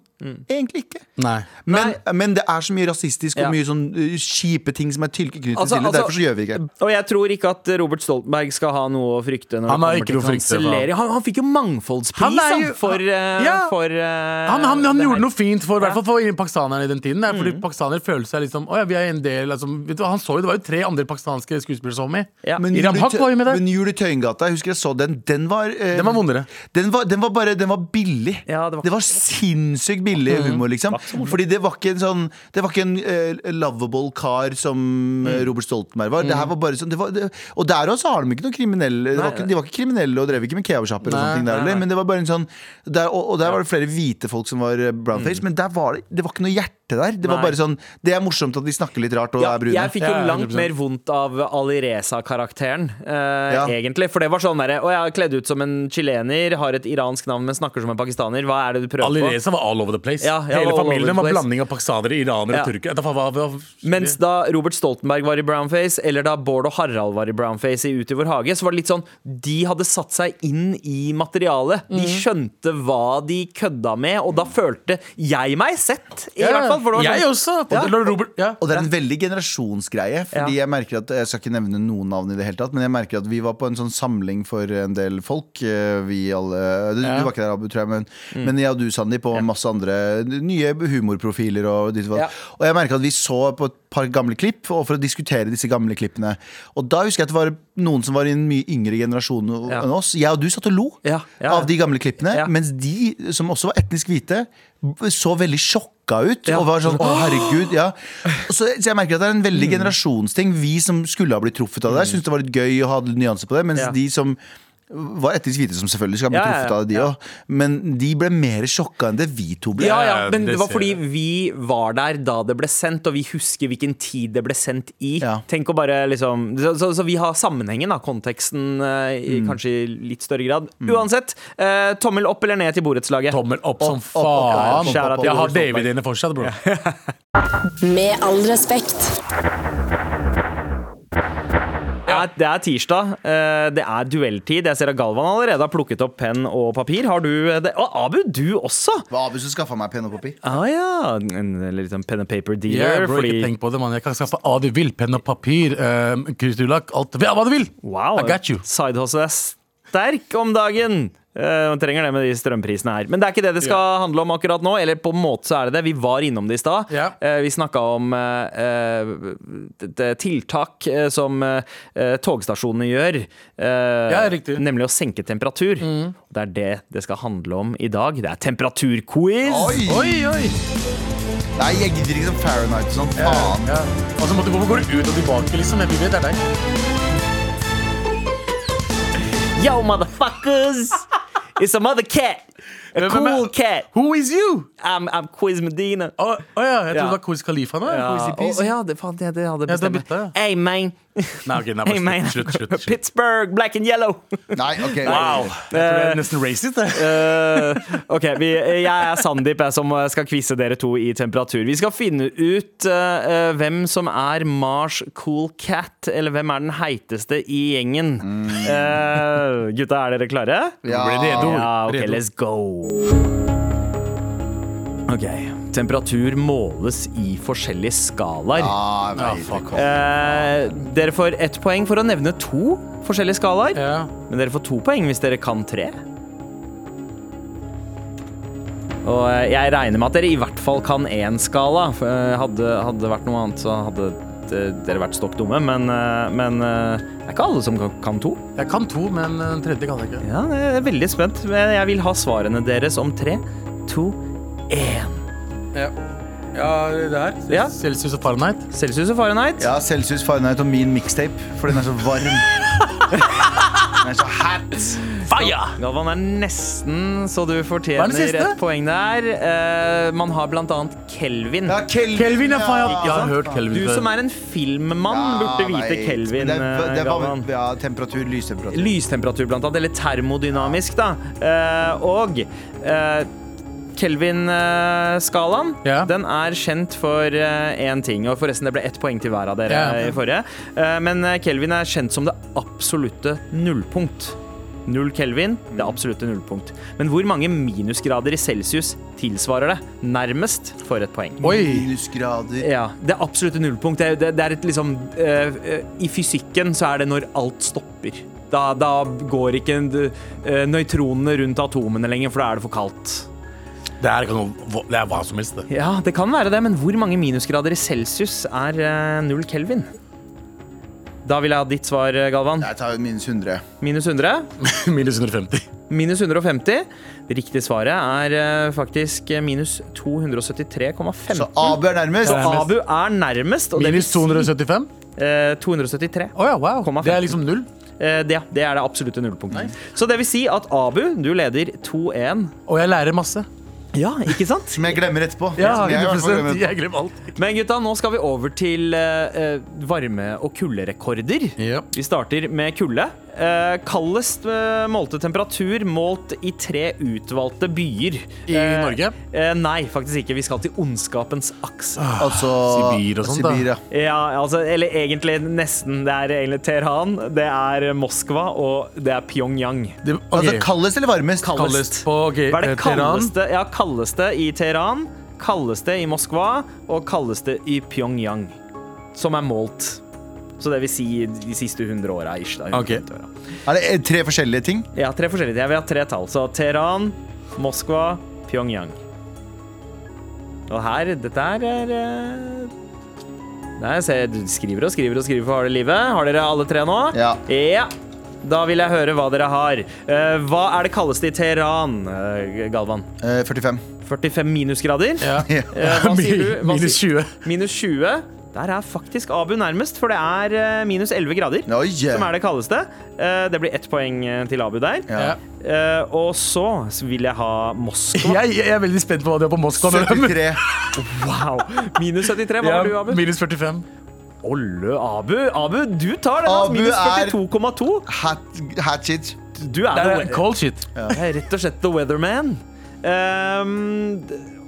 Egentlig ikke.
Mm. Nei.
Men, men det er så mye rasistisk og
Ja.
mye sånn uh, kjipe ting som er tilknyttet
Altså-
til det.
altså-
Derfor så gjør vi det ikke.
Og jeg tror ikke at Robert Stoltenberg skal ha noe å frykte. Når
Han har
det
ikke
kommer
noe å
til
frykte,
kansellering.
faen.
Han, han fikk jo mangfoldspris
Han er
han
jo-
for, eh,
Ja.
for eh,
Han, han, han
det her.
gjorde noe fint for, i
Ja. Mm.
hvert fall for pakistanerne i den tiden. Der, fordi pakistanere føler seg liksom Å ja, vi er en del altså, vet du, hva, Han så jo det var jo tre andre pakistanske skuespillere som var med.
Ja.
Men
Iram
Jul i
Haq
Tø-
var jo med der.
Men Jul i Tøyengata, jeg husker jeg så den. Den var, eh,
Den var vondere.
Den var, den var bare Den var billig.
Ja, det
det,
var- Mm.
var... sinnssykt billig humor, liksom. Fordi det var ikke en sånn Det var ikke en eh, lovable kar som
Mm.
eh, Robert Stoltenberg var. Det her var bare sånn det var, det, Og der også har de ikke noe kriminelle. Det var ikke, de var ikke kriminelle og drev ikke med kebabsjapper og
Nei,
sånne ting der heller. Men det var bare en sånn der, og, og der var det flere hvite folk som var eh, brownface, men der var det, det var ikke noe hjerte der. Det var
Mm. Nei.
bare sånn Det er morsomt at de snakker litt rart og
Ja,
er brune.
jeg fikk jo
Ja,
langt
100%.
mer vondt av Ali Reza-karakteren, eh,
Ja.
egentlig. For det var sånn derre Å, jeg er kledd ut som en chilener, har et iransk navn, men snakker som en pakistaner. Hva er det du prøver
Ali
på?
Reza var all over the place.
Ja, ja, all
Hele
over the
familien var
place.
blanding av pakistanere, iranere
Ja.
og tyrkere. Det var- var- var-
Mens da Robert Stoltenberg var i brownface, eller da Bård og Harald var i brownface i Ut i vår hage, så var det litt sånn De hadde satt seg inn i materialet. De
Mhm.
skjønte hva de kødda med, og da følte jeg meg sett, i
Ja,
hvert fall. For det var
jeg
sånn,
også! Og
Ja.
det- Robert, ja.
Og det er en veldig generasjonsgreie. Fordi Jeg merker at, jeg skal ikke nevne noen navn, i det hele tatt men jeg merker at vi var på en sånn samling for en del folk. eh, Vi alle Du, du var ikke der, Abu, tror jeg, men,
Mm.
men jeg og du, Sandeep, og masse andre nye humorprofiler. Og, ditt og
Ja.
datt. og jeg merker at vi så på et par gamle klipp og for å diskutere disse gamle klippene. Og da husker jeg at det var noen som var i en mye yngre generasjon
Ja.
enn oss. Jeg og du satt og lo
Ja, ja.
av de gamle klippene,
Ja.
mens de som også var etnisk hvite, så veldig sjokka ut.
Ja.
Og var sånn, å herregud ja. Og så, så jeg merker at det er en veldig generasjonsting Vi som skulle ha blitt truffet av det Jeg synes det var litt gøy å ha litt nyanse på det Mens
Ja.
de som var etnisk hvite som selvfølgelig skal bli
Ja, ja, ja.
truffet av det de
Ja.
også Men de ble mer sjokka enn det vi to ble
Ja, ja,
Ja,
men
det
det var
ser
fordi
jeg.
vi var der da det ble sendt, og vi husker hvilken tid det ble sendt i.
Ja.
Tenk å bare liksom så, så, så vi har sammenhengen, da, konteksten, eh, i,
Mm.
kanskje i litt større grad. Uansett, eh, tommel opp eller ned til borettslaget.
Tommel opp som
opp, opp,
opp, opp,
faen!
opp, opp,
Jeg
opp, opp,
har
opp.
DVD-ene fortsatt, bro.
Med all respekt.
Ja, er, det er tirsdag. eh, Det er duelltid. Jeg ser at Galvan allerede har plukket opp penn og papir. Har du det? Og Abu, du også!
Det var Abu som skaffa meg penn og papir.
Ah, ja. En litt sånn pen and paper dealer.
Yeah, bro,
fordi
Ikke tenk på det, mann. Jeg kan skaffe hva du vil. Penn og papir, um, krystallakk, alt. Ja, hva du vil!
wow,
I got you.
sidehustle er sterk om dagen. Eh, Man trenger det med de strømprisene her. Men det er ikke det det skal handle om akkurat nå. Eller på en måte så er det det. Vi var innom det i stad.
Ja.
Eh, Vi snakka om eh, eh, t- t- tiltak eh, som eh, eh, togstasjonene gjør. eh,
Ja, riktig. Mm.
Nemlig å senke temperatur. Det er det det skal handle om i dag. Det er temperaturquiz!
Oi!
Oi, oi!
Nei, jeg gidder ikke sånn Fahrenheit og sånn. Faen.
Ja. Altså, måtte, hvorfor går du ut og tilbake, liksom? Jeg, vi vet det er deg.
Yo, motherfuckers! It's a mother cat! A
Hvem- hvem er-
cool cat!
Who is you?
I'm, I'm Quiz Medina.
Å å ja, jeg trodde
Ja.
det var Quiz Khalifa nå.
Ja,
Quiz i
og,
peace.
og ja, det, faen, det, det hadde
Ja, det
bestemt.
bytta jeg.
hey, man.
Nei, ok, nei,
Hey,
bare
man.
slutt, slutt, slutt, slutt.
Pittsburgh, black and yellow.
Nei, ok.
Jeg tror det er nesten racist, det.
Eh, ok, vi, jeg er Sandeep, jeg som skal quize dere to i temperatur. Vi skal finne ut eh, eh, hvem som er Mars Cool Cat, eller hvem er den heiteste i gjengen. Eh, gutta, er dere klare?
Ja.
Blir det redo?
Ja, ok,
Redo.
let's go. Ok, temperatur måles i forskjellige skalaer.
Ah, nei,
Ja, fuck.
det-
Eh, dere får ett poeng for å nevne to forskjellige skalaer.
Ja.
Men dere får to poeng hvis dere kan tre. Og eh, jeg regner med at dere i hvert fall kan én skala. For, eh, Hadde hadde det vært noe annet, så hadde eh, dere vært stokk dumme. Men, eh, men eh, det er ikke alle som kan- kan to.
Jeg kan to, men eh, den tredje kan jeg ikke.
Ja, jeg er veldig spent. men Jeg vil ha svarene deres om tre, to, én.
Ja, det her.
Ja.
Celsius og Fahrenheit.
Celsius og Fahrenheit.
Ja, Celsius Fahrenheit og min mixtape, for den er så varm. Den er så hot.
Galvan er nesten så du
Ah, Hva er
fortjener
den siste?
et poeng der. Eh, man har blant annet Kelvin.
Ja, Kelvin,
Kelvin er faen.
ja.
Jeg har hørt
Du
Kelvin
som er en filmmann, burde vite
vet.
Kelvin.
Men Det,
eh,
det var
Galvan.
ja, temperatur, lystemperatur.
Lystemperatur, blant annet. Eller termodynamisk, da. Eh, og eh, Kelvin-skalaen
Ja.
Den er kjent for eh, én ting. Og forresten, det ble ett poeng til hver av dere
Ja.
eh, i forrige. Eh, men eh, Kelvin er kjent som det absolutte nullpunkt. Null Kelvin, det absolutte nullpunkt. Men hvor mange minusgrader i celsius tilsvarer det? Nærmest for et poeng.
Oi!
Minusgrader.
Ja, Det absolutte nullpunkt. Det, det, det er et liksom eh, eh, I fysikken så er det når alt stopper. Da, da går ikke eh, nøytronene rundt atomene lenger, for da er det for kaldt.
Det her kan jo Det er hva som helst, det.
Ja, det kan være det, men hvor mange minusgrader i celsius er eh, null kelvin? Da vil jeg ha ditt svar, eh, Galvan.
Jeg tar minus 100.
Minus 100.
Minus 150.
Minus 150. Det riktige svaret er eh, faktisk minus 273,15.
Så Abu er nærmest.
Så Abu er nærmest. Og det vil
Minus
si,
275?
eh, 273.
Å ja, wow.
Komma
Det er
femten.
liksom null.
Eh, Det, det er det absolutte nullpunktet. Så det vil si at Abu, du leder 2-1.
Og jeg lærer masse.
Ja, ikke sant?
Som jeg glemmer etterpå.
Ja,
Som jeg i hvert fall
100
glemmer.
Jeg glemmer alt.
Men gutta, nå skal vi over til eh, eh, varme- og kulderekorder.
Ja.
Vi starter med kulde. Eh, kaldest eh, målte temperatur målt i tre utvalgte byer.
I
Eh,
Norge?
eh, nei, faktisk ikke. Vi skal til ondskapens akse.
Ah.
Altså
Sibir og sånt, da.
Sibir, ja.
Ja, altså, eller egentlig nesten. Det er egentlig Teheran, det er Moskva og det er Pyongyang.
Det,
Altså
ok.
kaldest eller varmest?
Kaldest på ok,
Hva er det
eh, Teheran.
kaldeste, ja, kaldeste i Teheran, kaldeste i Moskva og kaldeste i Pyongyang, som er målt. Så det vil si de siste 100 åra. ish, da, 150 åra.
Er det eh, tre forskjellige ting?
Ja, tre forskjellige. Jeg vil ha tre tall. Så Teheran, Moskva, Pyongyang. Og her Dette her er eh, Nei, se, du skriver og skriver og skriver for harde livet. Har dere alle tre nå?
Ja.
ja. Da vil jeg høre hva dere har. Eh, hva er det kaldeste i Teheran, eh, Galvan?
Eh, 45.
45 minusgrader.
Ja.
Eh, hva sier du? Hva
Minus
sier-
20.
Minus 20. Der er faktisk Abu nærmest, for det er eh, minus 11 grader.
Oi, eh.
Som er det kaldeste. Eh, Det blir ett poeng eh, til Abu der.
Ja.
Eh, Og så vil jeg ha Moskva.
Jeg, jeg er veldig spent på hva de har på Moskva. når de-
73.
Wow. Minus 73. Hva
Ja,
har du, Abu?
minus 45.
Olle, Abu. Abu, du tar den. altså.
Abu
Minus
er-
42,2.
Hat- Hatchet.
Du er,
Det
the
er
we-
cold shit.
Det er rett og slett the weatherman. Ehm,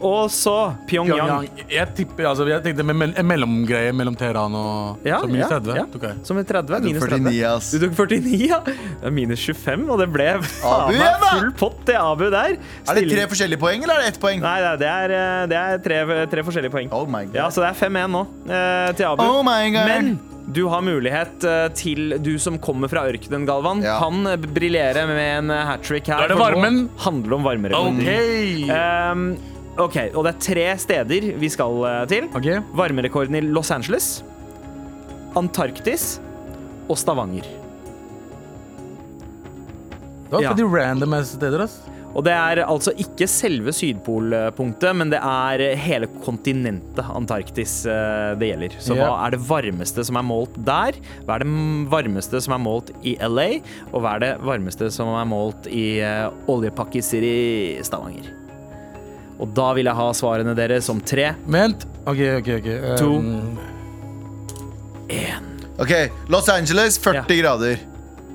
og så Pyongyang.
Pyongyang. Jeg tipper, altså, jeg tenkte med mell- en mellomgreie mellom Teheran og
Ja,
så minus
ja,
30.
ja.
tok jeg.
Som i 30. Minus
49,
30.
ass.
Du tok 49, ja. Det er minus 25, og det ble faen meg
Abu igjen, da!
full pott til Abu der.
Er det tre
Stilling-
forskjellige poeng, eller er det ett poeng?
Nei, nei, det er, eh, det er tre, tre forskjellige poeng.
Oh my God.
Ja, Så det er 5-1 nå eh, til Abu.
Oh my God.
Men du har mulighet eh, til, du som kommer fra ørkenen, Galvan,
Ja.
kan eh, briljere med en eh, hat trick her.
Da er det
for nå
varmen.
handler det om varmerekonomi.
OK!
Ehm, OK, og det er tre steder vi skal eh, til.
Ok.
Varmerekorden i Los Angeles, Antarktis og Stavanger.
Det var
ja.
pretty random ass steder, ass.
Og det er altså ikke selve sydpolpunktet, men det er hele kontinentet Antarktis eh, det gjelder. Så
Ja.
hva er det varmeste som er målt der? Hva er det m- varmeste som er målt i LA? Og hva er det varmeste som er målt i eh, oljepakkiser i Stavanger? Og da vil jeg ha svarene deres om tre.
Vent. OK, OK. ok Eh,
To.
Ok, Los Angeles, 40 grader.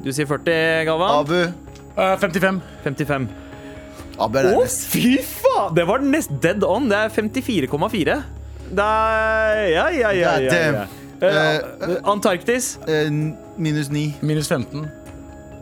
Du sier 40, Galvan.
Abu.
eh, 55.
55.
Abu er
Å,
nærmest.
fy faen! Det var nest dead on. Det er 54,4. Det er Ja, ja, ja. ja, ja.
Goddamn.
Eh, Antarktis,
Eh, minus 9.
Minus 15.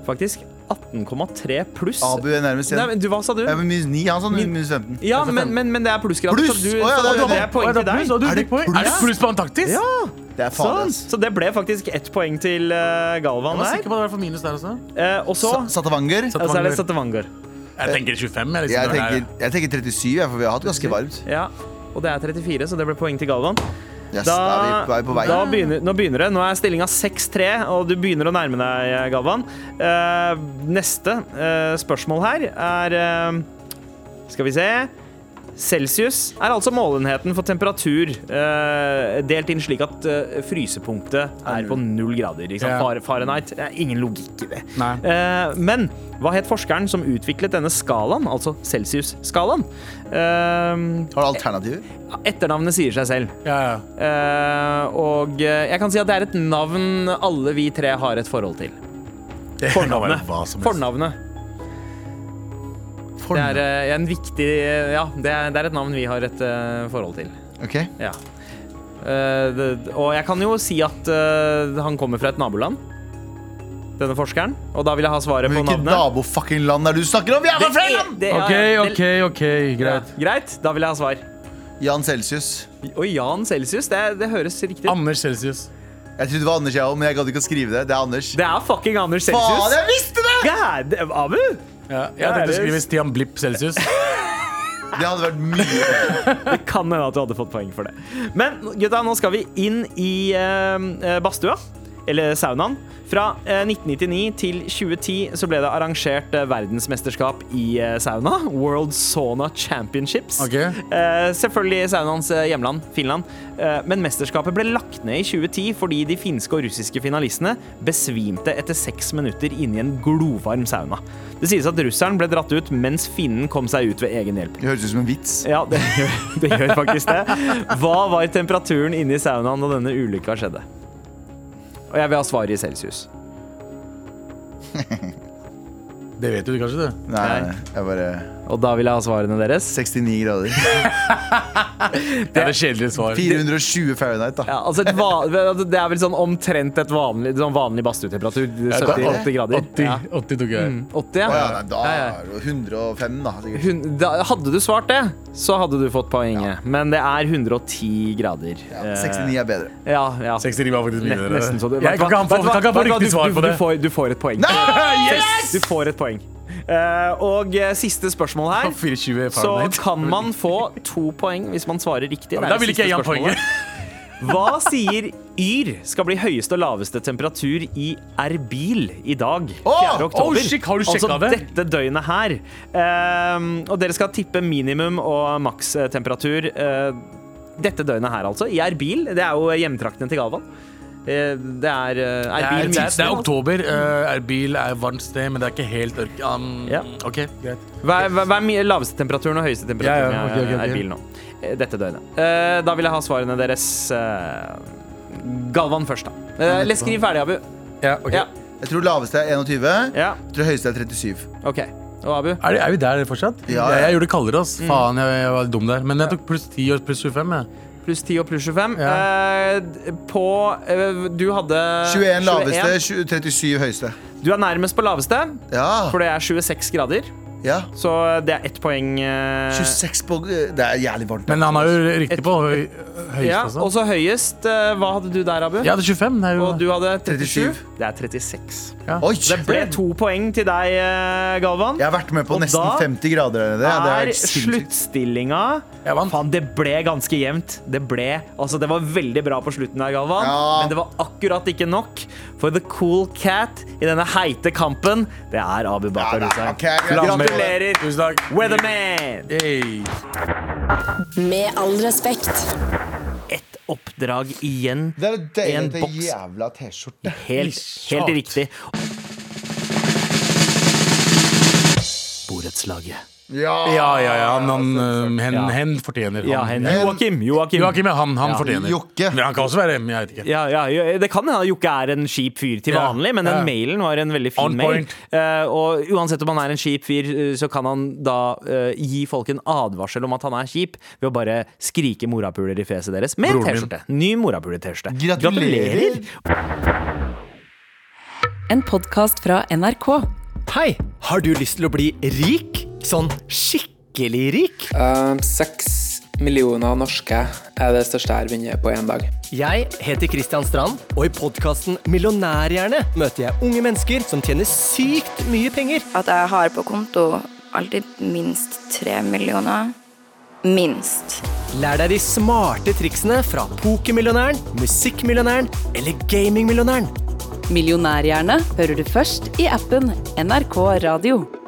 faktisk. 18,3 pluss.
Abu er nærmest
Nei,
igjen.
men du, hva sa du?
Ja, men minus 9, han sa minus 15.
Ja, men, men, men det er plussgrader.
Pluss!
Så, du,
Å, ja,
så
det er
det er
det.
poeng
Å, ja,
til
det er pluss,
deg.
og du
Er det
fikk poeng. Er det
pluss?
pluss på Antarktis?
Ja,
Det er faen,
sånn.
ass.
Så det ble faktisk ett poeng til eh,
Jeg
Galvan
var
der.
sikker på at det var i hvert fall minus der også.
Eh, og så
Sa- Satavanger.
og så er det Stavanger.
Jeg tenker 25. Jeg, liksom,
Jeg
Det er-
tenker, jeg tenker 37, jeg, for vi har hatt ganske varmt.
Ja. Og det er 34, så det ble poeng til Galvan.
Yes, da er vi på- er vi på vei.
da begynner, nå begynner det. Nå er stillinga 6-3, og du begynner å nærme deg, Galvan. Eh, neste eh, spørsmål her er eh, Skal vi se. Celsius er altså målenheten for temperatur eh, delt inn slik at eh, frysepunktet er på null grader. Ikke sant?
Ja.
Far- Fahrenheit. Det er ingen logikk i det.
Nei.
Eh, men hva het forskeren som utviklet denne skalaen, altså celsius-skalaen? Eh,
Har du alternativer?
etternavnet sier seg selv.
Ja, ja.
Eh, og eh, jeg kan si at det er et navn alle vi tre har et forhold til.
Det kan være hva som helst.
Fornavnet. Det er eh, en viktig Ja, det er, det er et navn vi har et eh, forhold til.
Ok.
Ja. Eh, det, og jeg kan jo si at eh, han kommer fra et naboland, denne forskeren. Og da vil jeg ha svaret på
Hvilket
navnet.
nabo-fucking-land er det du snakker om? Jeg er fra Frøyland!
Det er-
OK,
det-
OK, ok, greit.
Ja, greit, da vil jeg ha svar.
Jan Celsius.
Og Jan Celsius, det, det høres riktig ut.
Anders Celsius.
Jeg trodde det var Anders, jeg òg, men jeg gadd ikke å skrive det. Det er Anders.
Det er fucking Anders
Faen,
Celsius.
jeg visste det!
Ja, det- Abu!
Ja,
Ja,
jeg tenkte å
det-
skrive Stian Blipp Celsius.
Det hadde vært mye
Kan hende at du hadde fått poeng for det. Men gutta, nå skal vi inn i eh, badstua. Eller saunaen. Fra eh, 1999 til 2010 så ble det arrangert eh, verdensmesterskap i eh, sauna. World Sauna Championships.
Ok.
Eh, selvfølgelig i saunaens eh, hjemland, Finland. Eh, men mesterskapet ble lagt ned i 2010 fordi de finske og russiske finalistene besvimte etter seks minutter inne i en glovarm sauna. Det sies at russeren ble dratt ut mens finnen kom seg ut ved egen hjelp.
Det høres ut som en vits.
Ja, det gjør, det gjør faktisk det. Hva var temperaturen inne i saunaen da denne ulykka skjedde? Og jeg vil ha svaret i celsius.
Det vet du kanskje, du.
Nei,
Nei.
jeg bare
Og da vil jeg ha svarene deres.
69 grader.
Det er det kjedelige svar.
420 Fahrenheit, da.
Ja, altså et va- det er vel sånn omtrent et vanlig, sånn vanlig badstuetemperatur. 70-80 grader.
80,
Ja. Mm.
80 tok jeg.
80, ja.
Å ja, nei, da
Ja, ja.
er det jo 105, da. sikkert.
Hun- da- Hadde du svart det, så hadde du fått poenget. Men det er 110 grader.
Ja,
Eh,
69 er bedre.
Ja, ja.
69 var faktisk mye
Ne-
bedre.
Nesten så du
Jeg kan ikke ha-
Vet du hva-
kan ikke ha
vet du hva?
riktig
Du-
svar
du-
på det.
Du får, du får et poeng. Du får et poeng. Eh, og eh, siste spørsmål her.
24
Så
Fahrenheit.
kan man få to poeng hvis man svarer riktig. Det er
Da
det
vil ikke
siste
jeg ha
spørsmålet.
poenget.
Hva sier Yr skal bli høyeste og laveste temperatur i Erbil i dag? 4.
Åh!
oktober.
Oh, shit, har du
altså
sjekket det?
dette døgnet her. Ehm, og dere skal tippe minimum og makstemperatur eh, dette døgnet her, altså. I Erbil. Det er jo hjemtraktene til Galvan. Eh, Det er eh,
Det
Erbil
er, det, er, det
tidsnivå.
er oktober. eh, Erbil er et varmt sted, men det er ikke helt ørk... Um,
Ja.
OK, greit.
Hva er, hva er mi- laveste temperaturen og høyeste temperaturen
Ja, ja, ok, ok, ok.
er bilen nå? Eh, Dette døgnet. Eh, Da vil jeg ha svarene deres. eh, Galvan først, da. Eh, Eller skriv ferdig, Abu.
Ja, ok.
Ja.
Jeg tror laveste er 21.
ja. Eh,
Jeg tror høyeste er 37.
OK. Og Abu?
Er, det- er vi der fortsatt?
Ja,
Jeg,
ja.
jeg gjorde det kaldere, ass.
Mm.
Faen, jeg, jeg var dum der. Men jeg tok pluss 10 og pluss 25. Jeg.
Pluss 10 og pluss 25.
Ja.
Eh, d- på eh, Du hadde
21 laveste, 20 37 høyeste.
Du er nærmest på laveste,
Ja.
for det er 26 grader.
ja.
Så det er ett poeng. eh,
26 på Det er jævlig varmt. altså.
Men han har jo riktig på høy, høyest,
Ja,
altså.
og så høyest. eh, Hva hadde du der, Abu?
Jeg hadde 25. Det er jo
Og du hadde 37.
37.
Det er 36.
Oi!
Det ble to poeng til deg, eh, Galvan.
Jeg har vært med på
Og
nesten
da
50 grader. der nede. Det er
er
helt sinnssykt.
sluttstillinga
Jeg vant.
Faen, det ble ganske jevnt. Det ble Altså, det var veldig bra på slutten der, Galvan,
Ja.
men det var akkurat ikke nok. For The Cool Cat i denne heite kampen, det er Abu Bakar
Ja, da,
Hussein.
ok, greit.
Gratulerer,
Tusen takk.
Weatherman!
Hey.
Med all respekt.
Ett oppdrag igjen.
Det er
I en
deilig til
boks.
jævla T-skjorte.
Helt, helt riktig. Borettslaget.
Ja,
Ja, ja, ja. Han, han, øhm, hen,
Ah, Ja.
hen fortjener han.
Ja, hen- Joakim. Joakim.
Joakim, ja, han, han
Ja.
fortjener.
Jokke.
Men han kan også være Jeg vet ikke.
Ja, ja, jo- det kan hende Jokke er en kjip fyr til
Ja,
vanlig, men den
ja.
mailen var en veldig fin
On
mail.
point.
Eh, og uansett om han er en kjip fyr, eh, så kan han da eh, gi folk en advarsel om at han er kjip, ved å bare skrike morapuler i fjeset deres med en
Broren min.
T-skjorte. Ny morapuler-T-skjorte.
Gratulerer.
En podkast fra NRK.
Hei, har du lyst til å bli rik? Sånn skikkelig rik?
Eh, Seks millioner norske er det største jeg har vunnet på én dag.
Jeg heter Kristian Strand, og i podkasten Millionærhjerne møter jeg unge mennesker som tjener sykt mye penger.
at jeg har på konto alltid minst tre millioner. Minst.
Lær deg de smarte triksene fra pokermillionæren, musikkmillionæren eller gamingmillionæren.
Millionærhjerne hører du først i appen NRK Radio.